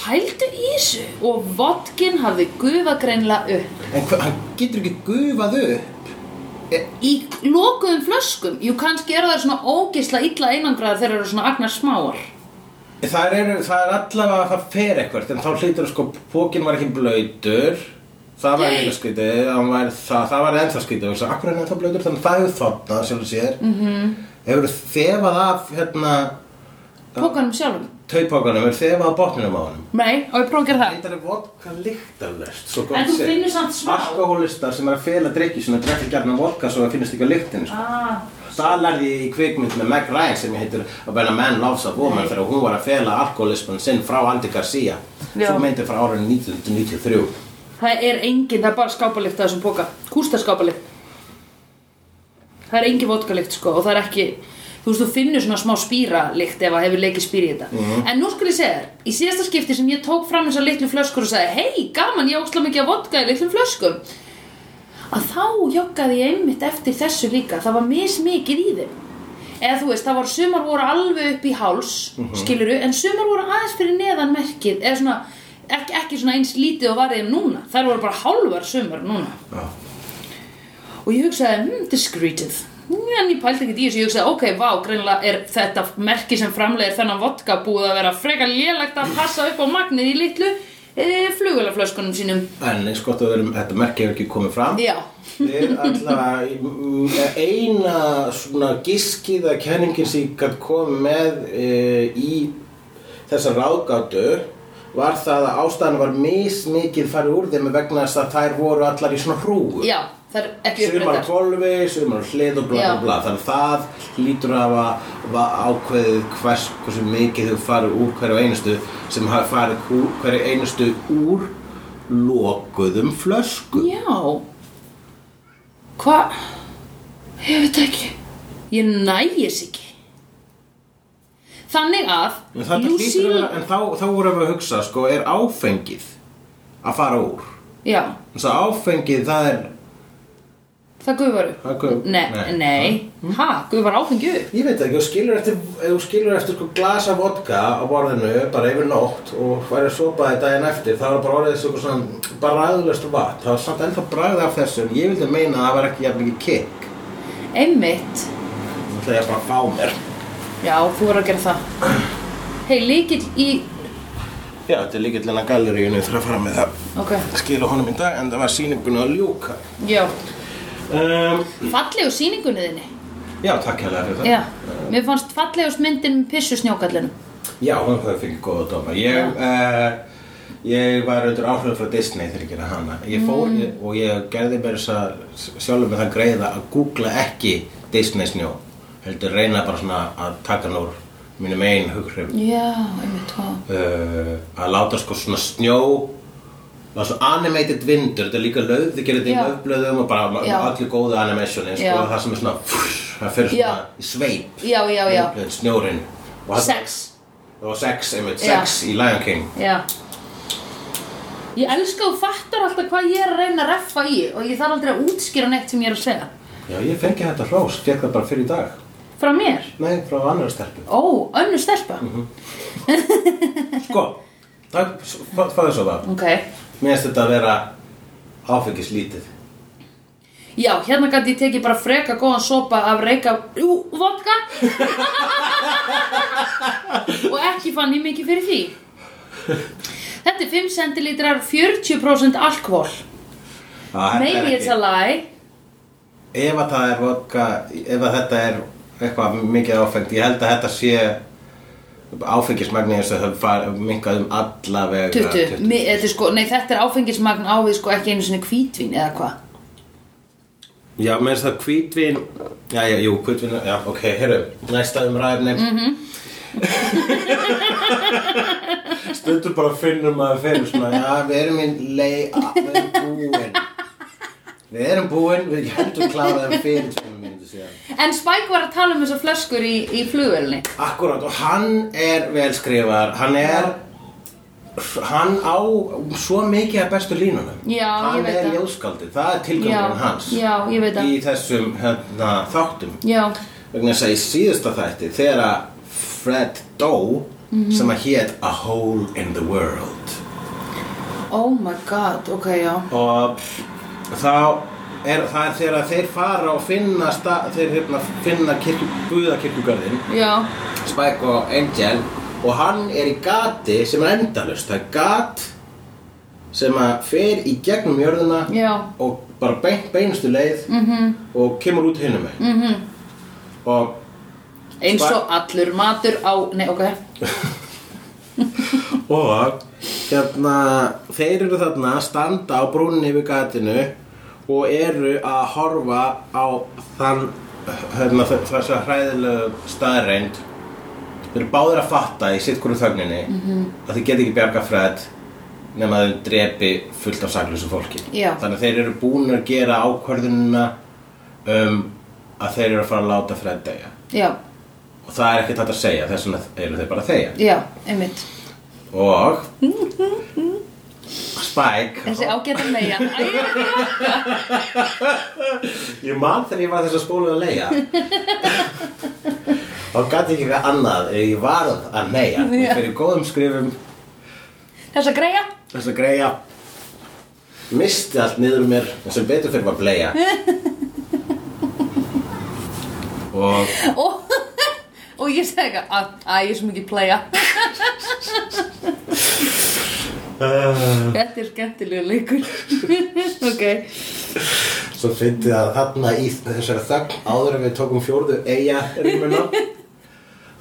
Pældu í þessu Og vodkin hafði gufa greinlega upp
en hva, hann getur ekki gufað upp.
Í lokuðum flöskum Jú, kannski eru þær svona ógisla illa einangraðar Þeir eru svona agnar smáar
Það er, það er allavega að það fer eitthvað, en þá hlýtur sko, pókin var ekki blöytur, það var einhver skrítið, hann var, það, það var ennþá skrítið, og svo akkur er hann ennþá blöytur, þannig að það hefur þotnað, sjálf og sér. Mm -hmm.
Mhm.
Hefur þefað af, hérna,
Pókanum um sjálfum
taupókanum er þefa á botninum á honum
Nei, og ég prófa að gera það
Þetta er vodka lyktarlöst svo
En
gott
þú
sé.
finnur samt smá.
Alkohólistar sem er að fela drikki sem er drekki gjarnan vodka svo það finnst ekki á lyktinni sko.
ah.
Það lærði ég í kvikmynd með Meg Ryan sem heitir að bæna Man Loves a Woman þegar hún var að fela alkoholisman sinn frá Andy Garcia
Já.
Svo myndi frá árið 1993
Það er engin, það er bara skápalykt af þessum póka Kústa skápalykt Það er engin vodkalykt sko og það er ekki Þú veist, þú finnur svona smá spýralykt ef að hefur leikið spýr í þetta En nú skal ég segja þér Í síðasta skipti sem ég tók fram þessar litlu flöskur og sagði Hei, gaman, ég ósla mikið að vodka í litlum flöskum Að þá joggaði ég einmitt eftir þessu líka Það var mismikið í þeim Eða þú veist, það var sumar voru alveg upp í háls mm En sumar voru aðeins fyrir neðan merkið Eða svona, ekki, ekki svona eins lítið og varðið um núna Þær voru bara hálfar sumar núna
Já.
og ég hugsaði, hmm, discreetið en ég pældi ekki í þessu, ég hugsaði, ok, vá greinlega er þetta merki sem framlegir þennan vodka búið að vera frekar lélegt að passa upp á magnið í litlu e, flugulaflöskunum sínum
En eins gott að við erum, þetta merki hefur ekki komið fram
já,
Þeir allavega mm, eina svona giskið að kenningin sem ég gætt komið með e, í þessa ráðgátu var það að ástæðan var mismikið farið úr þeim vegna þess að þær voru allar í svona hrúgu.
já, það er ekki
Sumar á
upprættar
kolvi, sumar á hlið og bla bla
Já.
bla. Þannig að það lítur að hafa- hafa ákveðið hvers, hversu mikið þau farið úr hverju einustu sem hafa farið úr hverju einustu úr lokuðum flösku.
já hva ég veit ekki ég nægis ekki þannig
En,
að
þarna hlýtur að vera- en þá, þá vorum við að hugsa sko, er áfengið að fara úr
já,
þess að áfengið það er
það gufar upp
það er-
Nei, nei, ha, gufar áfengi upp
ég veit ekki, þú skilur eftir, ef þú skilur eftir sko, glasa vodka á borðinu bara yfir nótt og væri að sopa þetta daginn eftir þá er bara orðið þessu svona bara ræðulegst vatn, það er samt ennþá bragð af þessu en ég vildi meina að það var ekki jafn mikið kikk
Einmitt
þannig að ég bara að fá mér
Já, þú verður að gera það Hei, líkil í
já, þetta er líkillina galleríunni þurfa að fara með það
Ok,
skila honum í dag en það var sýningun að ljúka
já
um,
Fallegu sýningunni þinni
já, takk hérlega fyrir það
Já, mér fannst fallegust myndin með pissu snjókallinu
Já, hún hefur fengið góða dóma Ég, uh, ég var undir áhrifin frá Disney þegar ég gerði hana ég fór,
Mm.
og ég gerði mér þess að sjálfur með það greiða að googla ekki Disney snjó heldur reyna bara svona að taka hann úr mínum einn hughrif
Já, einmitt, hvað
uh, að láta sko svona snjó það var svo animated vindur þetta er líka löð, þið gerir þetta í
Já.
löðblöðum og bara
Já.
allir góðu animationin sko,
Já.
það sem er svona það fyrir
Já.
svona í sveip
Já, já, já.
Laufblöðin, snjórinn Og þarna-
Sex
Það var sex, einmitt,
Já.
sex í Lion King
Já Ég elska og fattar alltaf hvað ég er að reyna að reffa í og ég þarf aldrei að útskýra neitt sem ég er að segja
Já, ég fengi þetta hrós, fekk það bara fyrir í dag
Frá mér?
Nei, frá annar stelpu
Ó, önnu stelpa?
Sko, takk, fæðu svo það
Ok.
Mér finnst þetta að vera áfengislítið
Já, hérna gæti ég tekið bara freka góðan sopa af reyka, jú, vodka og ekki fann ég mikið fyrir því. Þetta er 5 centilitrar 40% alkohol.
Það er
Maybe
ekki-
it's a lie.
Ef að það er vodka, ef að þetta er eitthvað mikið áfengt Ég held að þetta sé áfengismagni eins og það far, minkað um alla vega
20, Mi- þetta er sko, nei þetta er áfengismagn á við sko ekki einu sinni hvítvín eða hvað
Já, með þess að hvítvin Já, já, jú, hvítvin, já, ok, heyrðu Næsta umræðni mm
Mhm.
-hmm. Stundur bara finnur maður fyrir svona Já, við erum í lei Við erum búin Við erum búin, við um hendur kláraðum fyrir svona myndu sko, síðan
En Spike var að tala um þessar flöskur í, í flugvelni
Akkurát, og hann er vel skrifar Hann er Hann á svo mikið af bestu línunum
Já, ég
Hann
veit
er
það.
ljóðskaldið, það er tilgangurinn
Já,
hans
já, ég veit það.
Í þessum hérna, þáttum
Já,
vegna þess að í síðasta þætti þegar að Fred dó sem að hét A Hole in the World
oh my god, ok, já
og þá er það er þegar að þeir fara og finna sta, þeir hérna finna kirkju, guðakirkjugarðin
Já,
Spike og Angel og hann er í gati sem er endalust það er gat sem að fer í gegnum jörðuna
Já.
og bara bein, beinustu leið -hmm. og kemur út hinum með mm -hmm. og
eins og allur matur á, nei ok
og hérna, þeir eru þarna að standa á brúnni yfir gatinu og eru að horfa á þann hérna, þess að hræðilegu staðreind þeir eru báðir að fatta í sitt hverju þögninni að þeir geti ekki bjarga fred nema að þeir drepi fullt af saklusu fólki
Já.
þannig að þeir eru búin að gera ákvörðunina um að þeir eru að fara að láta fred degja
Já,
og það er ekkert hægt að segja þess vegna eru þeir bara að þegja
já, einmitt
og Spike
Þessi ágæta meja
ég man þegar ég var þess að spólu að leia og gæti ekki við annað ef ég varð að leia
Já.
fyrir góðum skrifum
Þessa greiða
þess að greiða misti allt niður úr mér en sem betur fyrir var bleia og
og, og ég segi eitthvað, að, að ég er svo mikið playa Þetta er skemmtilega leikur Ok
Svo fyndið að þarna í þessari þögn áður en við tókum fjórðu eiga rýmuna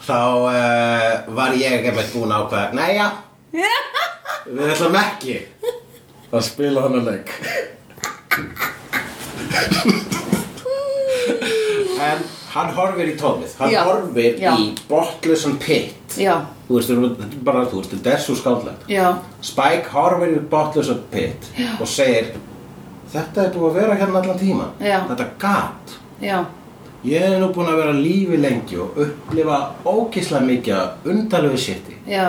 þá uh, var ég einmitt búin að ákveða Næja, við ætlum ekki að spila hann að leik En hann horfir í tómið hann
Já.
horfir
Já.
í botlusan pitt
Já,
Þú veist, þetta er bara, þú veist, þetta er svo skáldlegt
já,
Spike horfir í botlusan pitt og segir Þetta er búið að vera hérna allan tíma
Já.
Þetta gat
já
Ég er nú búin að vera á lífi lengi og upplifa ókísla mikið af undarlegu sétti
Já.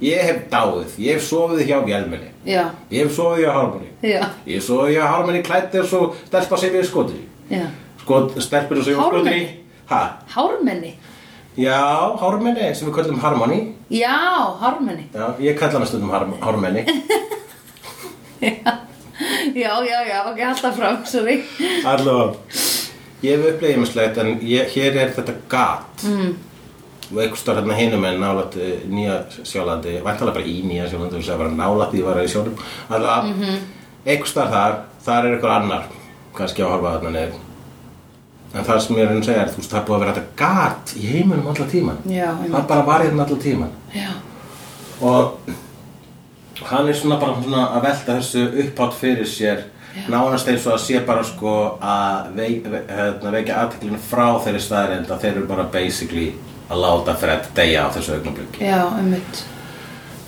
Ég hef dáið, ég hef sofið hjá Vélmenni
Já,
Ég hef sofið hjá Harmony
já,
Ég hef sofið hjá Harmony klættir svo stelpa sem ég er skotir í
já
Skot, Stelpur sem ég er skotir í
Harmony?
Ha?
Hármenni
Já, Harmony sem við köllum Harmony
Já, hármenni
Já, ég kalla mig stundum harm, Harmony
Já, já, já, ok, alltaf fram, sorry
Allavega Ég hef upplegið mislegt en ég, hér er þetta gat mm. og einhvers stór hérna hinum en nálætt eh, nýja sjálandi væntalega bara í nýja sjálandi þú veist að vera nálætt því að vera í sjónum allavega mm
Mhm.
-hmm. einhvers stór þar, þar er einhver annar kannski að horfa þarna nefn en það sem ég er að segja er þú veist það er búið að vera þetta gat í heiminum allan tíman
Já, einmitt.
það bara var hérna allan tíman
Já,
og hann er svona bara svona að velta þessu upphátt fyrir sér nánast eins og að sé bara sko að veik, ve- hérna, veikja aðteklinu frá þeirri staðarind að þeir eru bara basically að láta Fred deyja á þessu augnablikki
já, einmitt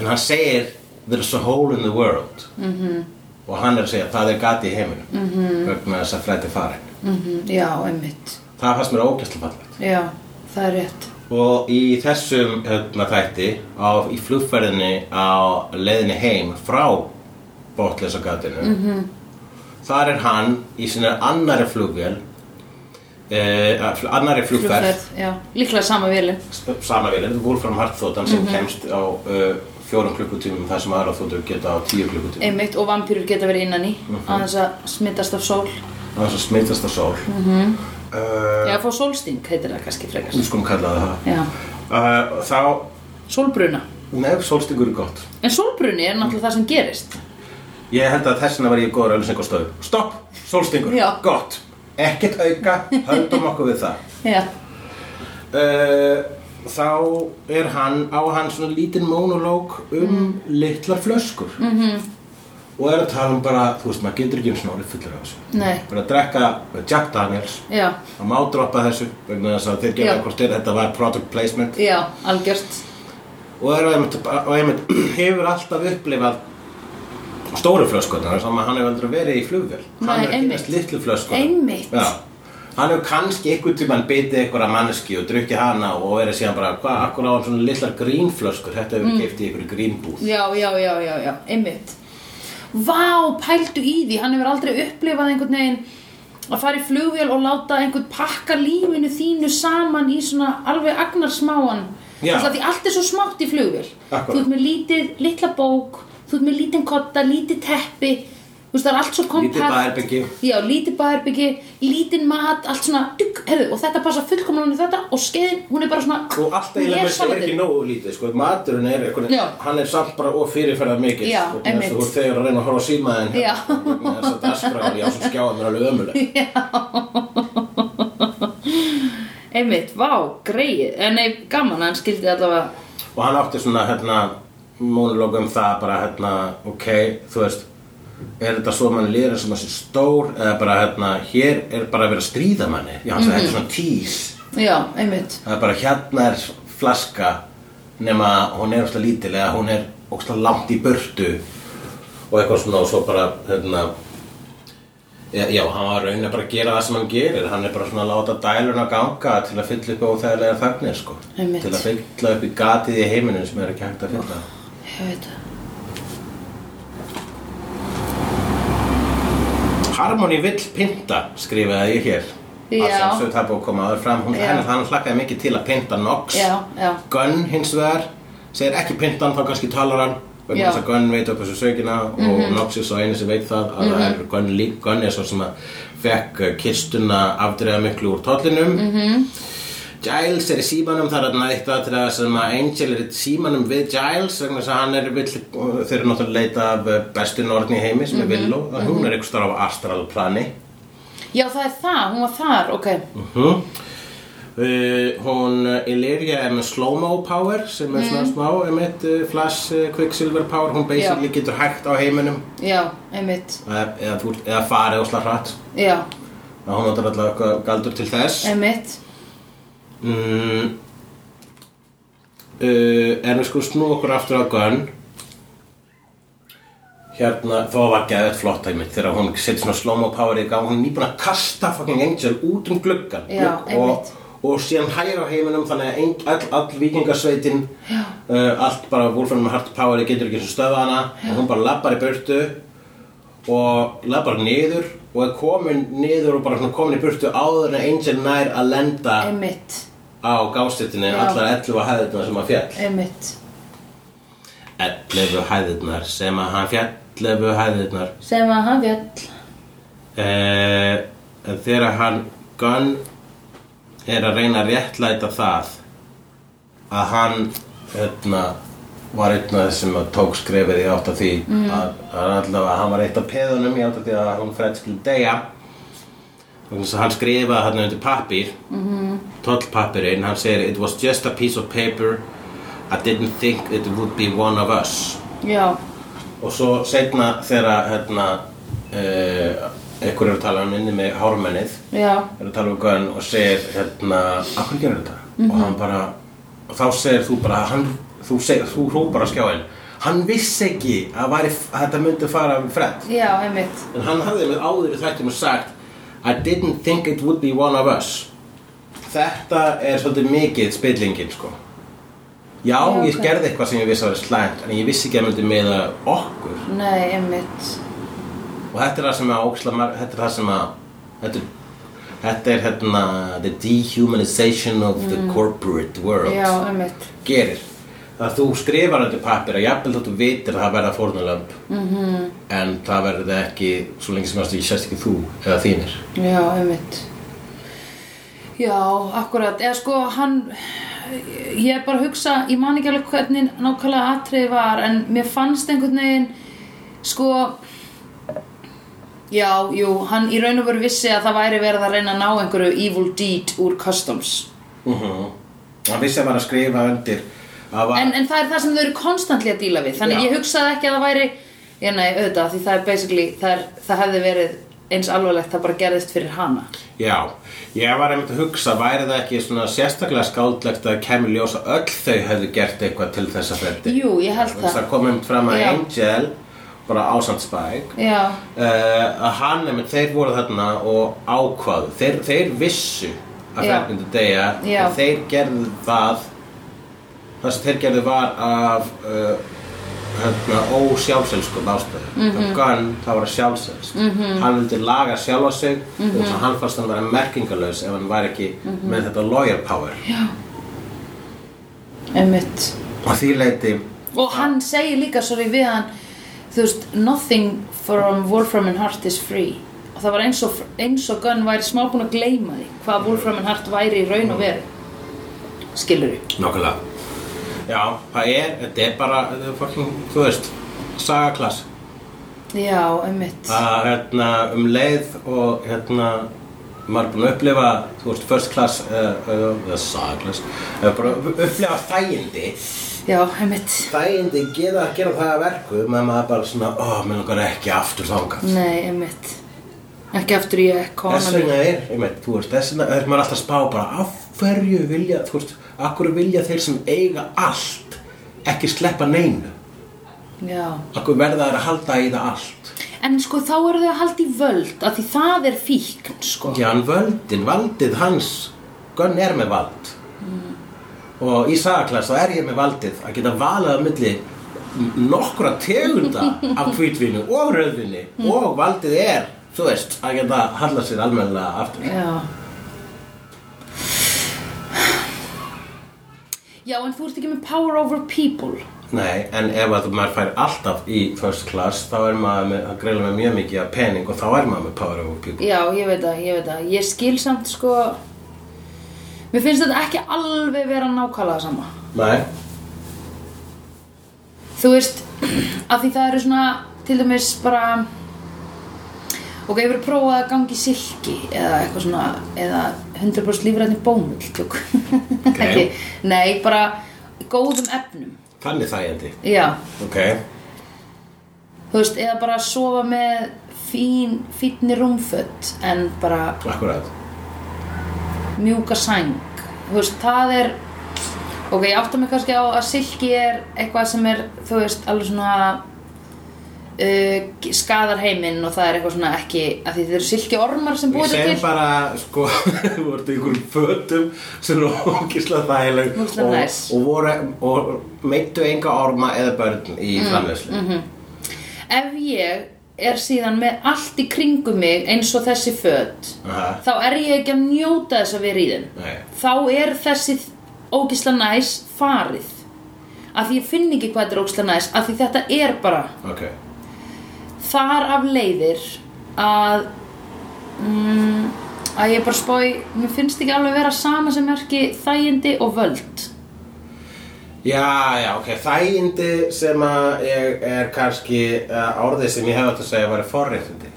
en hann segir there's a hole in the world -hmm. og hann er að segja það er gati í heiminum -hmm. vegna þess að Fred er farin
mm Já, einmitt
það fannst mér ógæslega fallegt
Já, það er rétt
Og í þessum hérna, þætti á, í flugferðinni á leiðinni heim frá bóttlesagatinu mm -hmm. þar er hann í sinni annari flugvél eh, að- annarri flugferð
Flugferð, já, líklega sama vélum
sama vélinn, Wolfram Hartþóttan sem kemst á uh, fjórum klukkutímum þar sem aðra þóttur geta á tíu klukkutímum
einmitt og vampýrur geta verið innan í aðeins að smittast af sól
það er svo smitast að sól mm -hmm.
Já, fá sólsting heitir það kannski frekar
við skulum kalla það það
Já,
uh, þá,
sólbruna
nef sólstingur er gott
En sólbruni er náttúrulega það sem gerist
ég held að þess vegna var ég góður ölliseng á stöðu stopp, sólstingur,
Já.
gott ekkert auka, höldum okkur við það
Já,
Eh, þá er hann á hann svona lítinn monolog um
Mm.
litlar flöskur -hmm.
Mhm.
og er að tala um bara þú veist, maður getur ekki um snorið fullur af þessu
nei,
bara að drekka Jack Daniels
já,
það má droppa þessu vegna þess að þeir gera
Já.
hvort er þetta var product placement
já, algjört
og er einmitt, og einmitt hefur alltaf upplifað stóru flöskunar sem að hann hefur aldrei verið í flugvél
Nei,
hann hefur
einmitt.
kynast litlu flöskunar
Einmitt.
Já. hann hefur kannski einhvern tímann bitið einhverja manneski og drukkið hana og verið síðan bara hvað, akkur á hann svona litlar grínflöskur þetta hefur mm. keift í einhverju grínbúð
Já, já, já, já, já, einmitt Vá, pældu í því, hann hefur aldrei upplifað einhvern veginn að fara í flugvél og láta einhvern pakka lífinu þínu saman í svona alveg agnarsmáan
Já.
Þess að því allt er svo smátt í flugvél
Akkúrat.
Þú ert með lítið, litla bók, þú ert með lítinn kotta, lítið teppi Þú veist, það er allt svo kompakt
lítið baðherbyggi
Já, lítið baðherbyggi, lítinn mat, allt svona, dugg, herðu, og þetta passa fullkomlega í þetta og skeiðin, hún er bara svona,
og allt
hún er
eiginlega með sér
salatið.
ekki nógu lítið sko. maturinn er einhvern
Já.
hann er samt bara of fyrirferðar mikill
Já,
sko, vegna þess að
einmitt.
þú ert þegar að reyna að horfa á hérna. símaðin
Já.
þess að dasgráð, já, sem skjáða mér alveg ömuleg
Einmitt, vá, greið, en nei, gaman, að hann skildi allavega,
og hann átti svona hérna monolog um það bara hérna ok, þú veist er þetta svo mann lýra sem þessi stór eða bara hérna, hér er bara að vera að stríða manni já, mm -hmm. þetta er svona tís
já, einmitt,
það er bara hérna er flaska nema hún er óslega lítil eða hún er óslega langt í burtu og eitthvað svona og svo bara hérna Já, já, hann var raunin að bara gera það sem hann gerir Hann er bara svona að láta dæluna ganga til að fylla upp á óþægilega þagnir sko.
Einmitt.
Til að fylla upp í gatið í heiminu sem er ekki hægt að fylla
ég veit það.
Harmony vill pynta, skrifaði ég hér
Já.
Að sem sögð hafa að koma aður fram Hún,
Já.
henni, hann hlakkaði mikið til að pynta Nox
Já, já,
Gunn hins vegar segir ekki pyntan þá kannski talar hann
Já.
vegna þess að Gunn veit upp þessu sökina og Nox er svo eini sem veit það að það er Gunn lík, Gunn er svo sem að fekk eh, kistuna afdreiða miklu úr tóllinum -hmm. Giles er í símanum þar að nætt aðtriða sem að Angel er í símanum við Giles vegna þess að hann er vill, þeir eru náttúrulega að leita af eh, bestu norðni í heimi sem er Willow að hún er einhvers þar á astral plani
já, það er það, hún var þar, ok,
Mhm. Uh, hún uh, Illyria er með slow-mo power sem er svona smá emitt, uh, flash uh, quicksilver power hún basically getur hægt á heiminum
já, einmitt,
eða, eða, þú ert- eða farið og slag hratt
já,
að hún notar alltaf eitthvað galdur til þess
einmitt,
mm, uh, en við sko snú okkur aftur á Gunn hérna þó var geðið flott einmitt þegar hún setur svona slow-mo power í gang hún er nýbúin að kasta fucking Angel út um gluggan
Já,
og,
einmitt.
og síðan hægir á heiminum þannig að ein, all, all vikingasveitin uh, allt bara Wolfram með hard power getur ekki sem stöða hana og hún bara labbar í burtu og labbar niður og er komin niður og bara svona komin í burtu áður en Angel nær að lenda
einmitt,
á gástutinu
Já.
allar 11 hæðirnar sem að fjall
einmitt,
11 hæðirnar sem að hann fjall 11 hæðirnar
sem að hann fjall,
eh, en þegar hann Gunn er að reyna að réttlæta það að hann hérna, var einn af þessum að tók skrefið í átt að því að, að allavega hann var eitt af peðunum í átt að því að hún frætt skil deyja vegna þess að hann skrifaði hann undir pappir mm -hmm. tollpappirinn, hann segir it was just a piece of paper I didn't think it would be one of us
já,
og svo seinna þegar hérna, uh, einhver er að tala um inni með hármennið
já,
er að tala um Gunn og segir hérna, af hverju gerir þetta?
Mhm.
og hann bara, og þá segir þú bara hann, þú, segir, þú hrópar á skjáin hann vissi ekki að, væri, að þetta myndi fara við fredd
já, einmitt,
en hann hafði með áður í þættum og sagt I didn't think it would be one of us þetta er svolítið mikið spillingin sko já,
Já,
ég
ok.
gerði eitthvað sem ég vissi að vera slæmt en ég vissi ekki að myndi meða okkur
nei, einmitt,
og þetta er það sem að óksla þetta er það sem að þetta er Þetta er hérna The dehumanization of the corporate world
Mm. já, einmitt
gerir að þú skrifar undir pappir að jafnvel þótt þú vitir að það verða fórnulömb
Mhm.
-hmm. en það verður ekki svo lengi sem það sést ekki þú eða þínir
Já, einmitt Já, akkurat eða sko, hann ég er bara að hugsa, ég man ekki alveg hvernig nákvæmlega atriði var en mér fannst einhvern veginn sko já, jú, hann í raun og veru vissi að það væri verið að reyna að ná einhverju evil deed úr customs
mm hann vissi að var að skrifa undir að var,
en, en það er það sem þau eru konstantli að díla við þannig
Já.
ég hugsaði ekki að það væri já, nei, auðvitað, því það er basically það, er, það hefði verið eins alvarlegt það bara gerðist fyrir hana
já, ég var einmitt að hugsa væri það ekki svona sérstaklega skáldlegt að kemur ljósa öll þau hefðu gert eitthvað til þessa ferdi
Jú, ég held
Vegna þess
það.
að kom einmitt fram að
Já.
Angel bara ásand Spike
já,
uh, að hann, emi, þeir voru þarna og ákvaðu, þeir, þeir vissu að
Já.
það myndi deyja
Já.
og þeir gerðu það það sem þeir gerðu var af uh, hérna, ósjálfselskum ástæðu mm
Mhm.
-hmm. Gunn, það var sjálfselsk mm -hmm. hann vildi laga sjálfa sig
Mhm.
mm -hmm. og svo hann fannst hann vera merkingalös ef hann væri ekki með þetta lawyer power
einmitt
og því leiti
og hann segir líka sorry við hann þú veist, nothing from Wolfram and Hart is free og það var eins og, eins og Gunn væri smá búin að gleyma því hvað Wolfram and Hart væri í raun og veru skilur við
Nákvæmlega Já, það er, þetta er bara þetta er fucking, þú veist, sagaklass
já, einmitt
að hérna, um leið og hérna, maður er búinn að upplifa þú veist, first class eða uh, uh, second class eða bara upplifa þægindi
já, einmitt
þægindi gera, gera það að verku með maður bara svona, ó, oh, mér langar ekki aftur þangað
nei, einmitt ekki aftur í
þess vegna
economy
er, einmitt, þú veist, þess vegna er maður alltaf að spá bara af hverju vilja, þú veist, af hverju vilja þeir sem eiga allt ekki sleppa neinu
já.
af hverju verða þeir að halda í það allt
en sko þá eru þau að halda í völd af því það er fíkn sko
Já, hann völdin, valdið hans Gunn er með vald Mm. og í sagaklass þá er ég með valdið að geta valið að milli nokkra tegunda af hvítvinni og rauðvinni og valdið er, þú veist, að geta hallað sér almennilega aftur
Já Já, en þú ert ekki með power over people
Nei, en ef að maður fær alltaf í first class þá er maður með, að greila með mjög mikið af pening og þá er maður með power over people
Já, ég veit það, ég veit það Ég skil samt sko Mér finnst þetta ekki alveg vera nákvæmlega sama
Nei,
Þú veist, af því það eru svona til dæmis bara Ok, ég verið prófað að gangi silki eða eitthvað svona eða 100% lífræðni bómull tjók Ekki, nei, bara í góðum efnum
þannig þægjandi
Já,
Ok,
þú veist, eða bara að sofa með fín, fínni rúmfött en bara
akkurat
mjúka sæng þú veist, það er ok, ég átta mig kannski á að silki er eitthvað sem er, þú veist, alveg svona uh, skadar heiminn og það er eitthvað svona ekki af því þetta eru silki ormar sem
Ég
búið
segi
til
bara, sko, þú voru í einhverjum fötum sem eru ógislega þægileg
Ógeðslega
og,
næs.
og, voru, og meittu enga orma eða börn í
Mm,
framleyslu.
mhm. ef ég er síðan með allt í kringum mig eins og þessi föt
Aha.
þá er ég ekki að njóta þess að vera í þeim
Nei.
þá er þessi ógisla næs farið af því ég finn ekki hvað þetta er ógisla næs af því þetta er bara
Ok,
þar af leiðir að mm, að ég bara spói mér finnst ekki alveg vera sama sem merki þægindi og völd
já, já, ok, þægindi sem að ég er kannski uh, orðið sem ég hef átt að segja að vera forréttindi,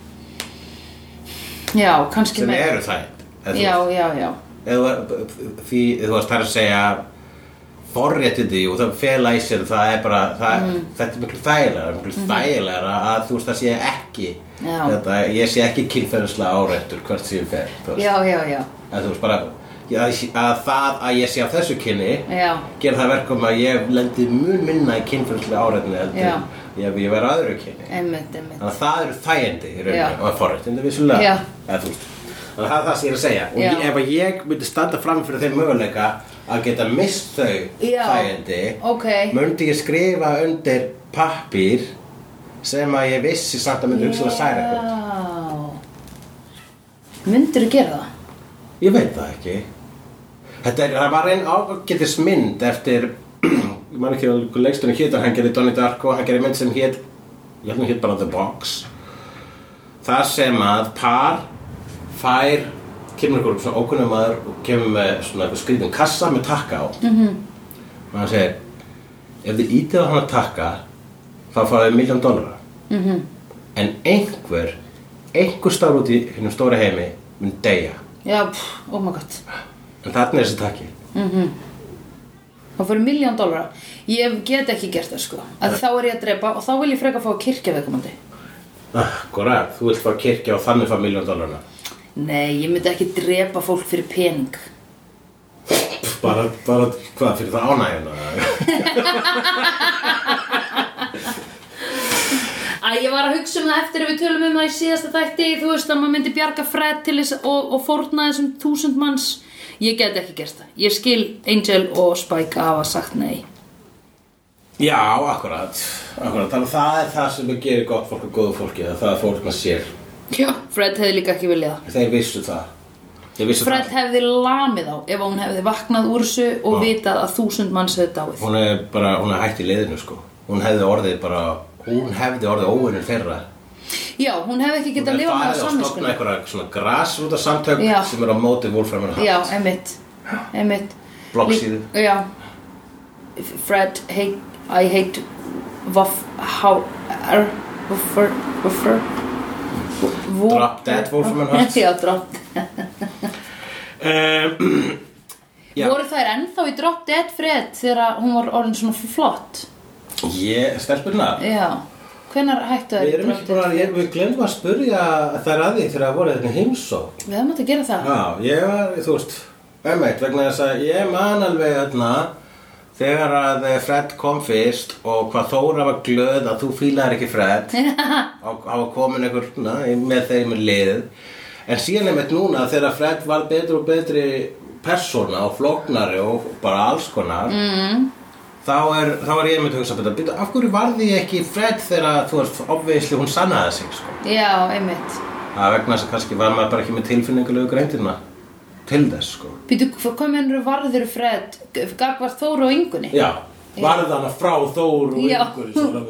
já, kannski
sem
meira.
eru þægindi. eða þú
já,
veist.
já, já,
Eða því, þú veist, það er að segja forréttindi og það fela í sér, það er bara, það,
Mm.
þetta er miklu þægilega, miklu þægilega að þú veist, það sé ekki,
Mhm. Já.
þetta, ég sé ekki kynferðislega áreittur hvert sem ég fer, þú veist,
já, já, já
að þú veist, bara, að, að það að ég sé af þessu kynni,
já,
gera það verkum að ég lendi mun minna í kynferðislega áreittinni
Já.
heldur, ég, ef ég verið öðru kynni,
einmitt, einmitt
þannig að það eru þægindi í
Já.
rauninu og forréttindi vissulega,
Já.
eða þú veist, þannig að það er það sem ég er að segja, og
Já.
ég, ef að ég myndi standa fram fyrir þeim möguleika að geta mist þau
Já.
þægindi,
ok,
Möndi ég skrifa undir pappír sem að um ég vissi samt að myndi hugsaðlega særa eitthvað
já myndirðu gera það?
Ég veit það ekki Þetta er, það var einn ágætis mynd eftir ég man ekki alveg hvað leikstunni hétt hann gerði Donnie Darko, hann gerði mynd sem hétt ég held hann hétt bara The Box þar sem að par fær kemur ykkur svona ókunnum maður og kemur með svona eitthvað skrýtum kassa með takka á -hmm. og hann segir ef þið ítið á hann takka þá fáið þið miljón dollara -hmm. en einhver einhver starf út í hennum stóra heimi mun deyja
Já, pff, oh my god
en þarna er þessi takki
Og fyrir miljón dólara Ég get ekki gert það sko að Þá er ég að drepa og þá vil ég freka að fá að kirkja viðkomandi
Akkurat, Ah, þú vilt fara að kirkja og þannig fara miljón dólarna
Nei, ég myndi ekki drepa fólk fyrir pening
bara, bara, hvað, fyrir það hérna? ánægjuna
Æ, ég var að hugsa um það eftir að við tölum um það í síðasta þætti, þú veist að maður myndi bjarga fred til þess og, og fórna þessum þúsund manns. Ég get ekki gert það. Ég skil Angel og Spike að hafa sagt nei.
Já, akkurat, akkurat Þannig að það er það sem við gerir gott fólk og góðu fólki að það er fólk með sér
Já. Fred hefði líka ekki viljað það.
Þeir vissu það Þeir vissu
Fred hefði lamið á ef hún hefði vaknað úr þessu og vitað að þúsund manns hefði
það
dáið.
Hún er bara, hún er hætt í liðinu sko Hún hefði orðið bara, hún hefði orðið óvinnur þeirra
Já, hún hefði ekki
Hún
getað að
hefði
lifa með það
farið og stofna
samvinskunni.
einhverja svona grasrúta samtök
Já.
sem er á móti Wolfram and
Já,
Hart
emitt, emitt.
Bloggsíðu.
Lí- Já. Fred, hate, I hate Voff, how, er, Voffer, Voffer Vo-
Drop dead Wolfram and Hart.
Já, drop
um, Já.
Voru þær ennþá í drop dead Fred þegar að hún var orðin svona flott
Ég, stelpurna
Já Hvenær hættu þær
Við
í
erum
drop
ekki
dead
bara, ég, við glemum að spurja þær að því þegar það voru þetta heimsókn
Við hefum átt að gera það
Já, ég var, þú veist, ömmeitt vegna þess að ég man alveg öðna þegar að eh, Fred kom fyrst og hvað Þóra var glöð að þú fílaðir ekki Fred og hafa komin einhver na, með þeim í lið en síðan einmitt núna þegar Fred var betri og betri persóna og flóknari og bara alls konar mm. þá, er, þá er ég einmitt að hugsa betur, betur, af hverju varði ég ekki Fred þegar þú veist, obviously hún sannaði sig sko
Já, einmitt
Það er vegna þess að kannski var maður bara ekki með tilfinningulegu greintina til þess sko.
Býtu, hvað mennur varður Fred Gagvar Þóru og Ingunni
Já, varð hana frá Þór og
Já.
yngur svona,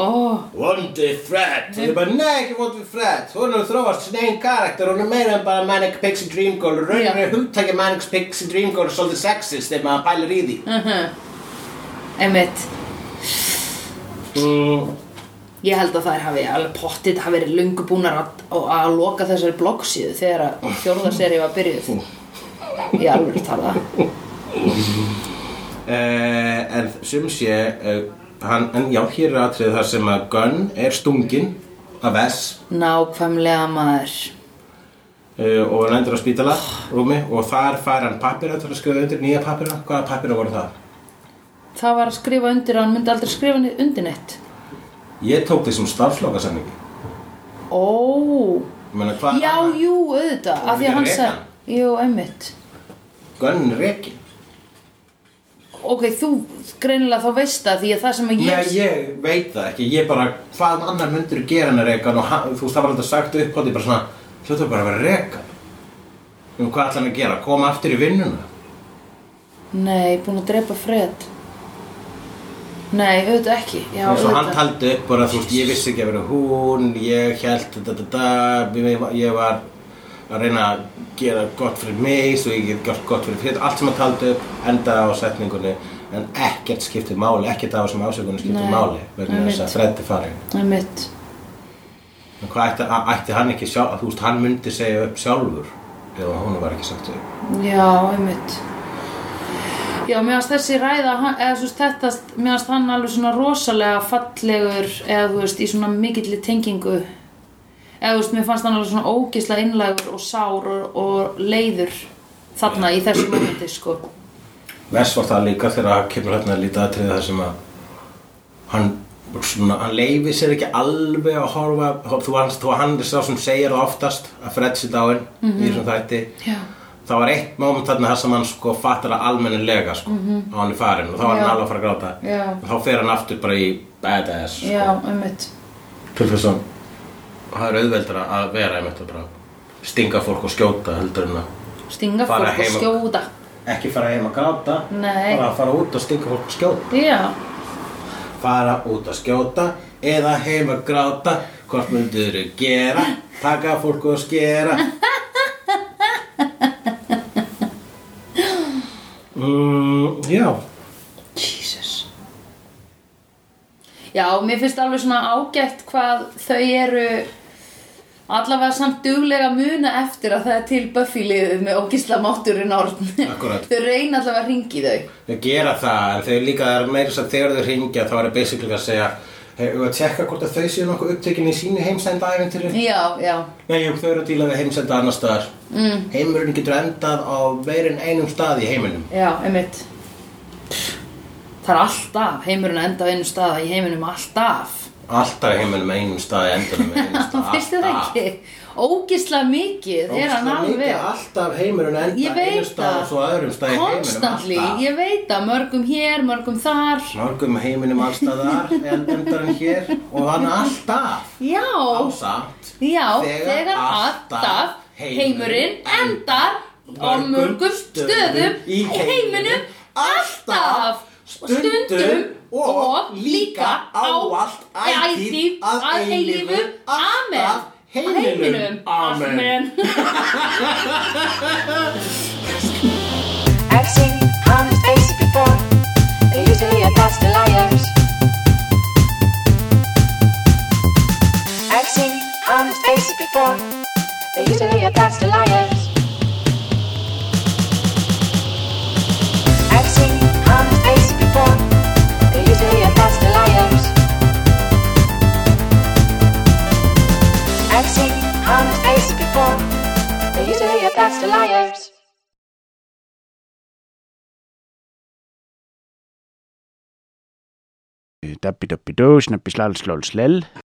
Ó,
Vondi Fred Það er bara, nei ekki vondi Fred Hún er að þróast sin einn karakter Hún er meira en bara Manic Pixie Dream Girl Rauður
Já.
er hugtækja Manic Pixie Dream Girl svolítið sexist þegar maður pælir í því
einmitt
mm.
Ég held að þær hafi alveg pottit hafi verið lungu búnar að, að- að loka þessari bloggsíðu þegar að fjórðarseri var byrjuð. Ég alveg tala.
eh, En sum sé eh, hann, En já, hér er atrið þar sem að Gunn er stungin af S
Nákvæmlega maður.
uh, og hann endur á spítala rúmi og þar fær hann pappira til að skrifa undir nýja pappira hvaða pappira voru það?
Það var að skrifa undir að hann myndi aldrei skrifa niður undir neitt.
ég tók þessum starfslokasamningi
Ó,
Menna, hvað,
já, jú, auðvitað, af því að hann sagði, jú, einmitt.
Gönn reki
Ok, þú greinilega þá veist það því að það sem að
Nei,
ég...
ég veit það ekki, ég bara, hvað annar myndur gera hann að reka hann og hann, þú veist, það var alltaf sagt upp á því bara svona, hljóttu bara að vera að reka hann. Nú, hvað ætla hann að gera, koma aftur í vinnuna?
Nei, búin að drepa Fred. Nei, auðvitað ekki, já,
Já, og hann
auðvitað.
taldi upp bara, þú veist, ég vissi ekki að vera hún, ég held, da, da, da, ég, ég var að reyna að gera gott fyrir mig, svo ég get gert gott fyrir fyrir, allt sem hann taldi upp endaði á setningunni, en ekkert skiptið máli, ekkert af þessum ásökunum skiptið
Nei,
máli, vegna
einmitt.
þess að Freddi farin.
Einmitt.
En hvað ætti, a- ætti hann ekki sjálf, þú veist, hann myndi segja upp sjálfur, ef hún var ekki sagt upp.
Já, einmitt Já, mér finnst þessi ræða hann- eða þú veist þetta, mér finnst hann alveg svona rosalega fallegur eða þú veist, í svona mikilli tengingu eða þú veist, mér fannst hann alveg svona ógislega innlægur og sár og, og leiður þarna í þessu momenti, sko
Vess var það líka þegar hann kemur hérna að líta aðtrið þar sem að hann, svona, hann leifi sér ekki alveg að horfa hor- þú hans, þú hann er sá sem segir það oftast að Fred sér dáin
Mhm.
í þessum þætti
Já.
það var eitt moment þarna þar sem hann sko fattar að almennilega sko á hann er farin og þá var hann
Mhm. Já.
alveg að fara að gráta
Já.
og þá fer hann aftur bara í badass sko.
Já, einmitt
Pulfesson það er auðveldra að vera einmitt að bara stinga fólk og skjóta heldur en að
Stinga
Fara
fólk og
heim og-
skjóta
ekki fara heim að gráta
Nei.
bara að fara út og stinga fólk og skjóta
Já,
fara út að skjóta eða heim að gráta hvort myndir þau gera taka fólk og skera mm, já
Jesus Já, mér finnst alveg svona ágætt hvað þau eru allavega samt duglega að muna eftir að það er til Buffy-liðið með ógisla mátturinn orðn
Akkúrat.
Þau reyna allavega að ringi þau
þau gera það en þau líka það er meira þess að þegar þau ringja þá er það basically að segja hefur að tjekka hvort að þau séu nokkuð upptekin í sínu heimsenda æventyri
Já, já,
nei, jú, þau eru að díla við heimsenda annar staðar mm. heimurinn getur endað á veirin einum stað í heiminum
já, einmitt Það er alltaf, heimurinn enda á einu staða í heiminum alltaf
Alltaf í heiminum einum staði endunum einum staði
Fyrst það
alltaf.
ekki, ógisla mikið er hann
Ógeðslega mikið,
alveg
Alltaf heimurinn enda
Ég
einum
veit
staði og svo öðrum staði í heiminum
Konstantly,
alltaf.
ég veit að mörgum hér, mörgum þar
Mörgum heiminum allstaðar en endarinn hér og hann alltaf
Já,
ásamt
Já, þegar, alltaf heimurinn endar á mörgum stöðum í heiminum alltaf stundum og líka ávallt ætíð að eilífu Amen heiminum Amen
I've seen honest faces before. They're usually a pass to liars. I've seen honest faces before. They're usually a pass to liars. I've seen honest faces before. They're usually a pass to liars. I've seen honest faces before. They're usually a pass to liars.
Dabbi dabbi dó, snabbi slal slal slel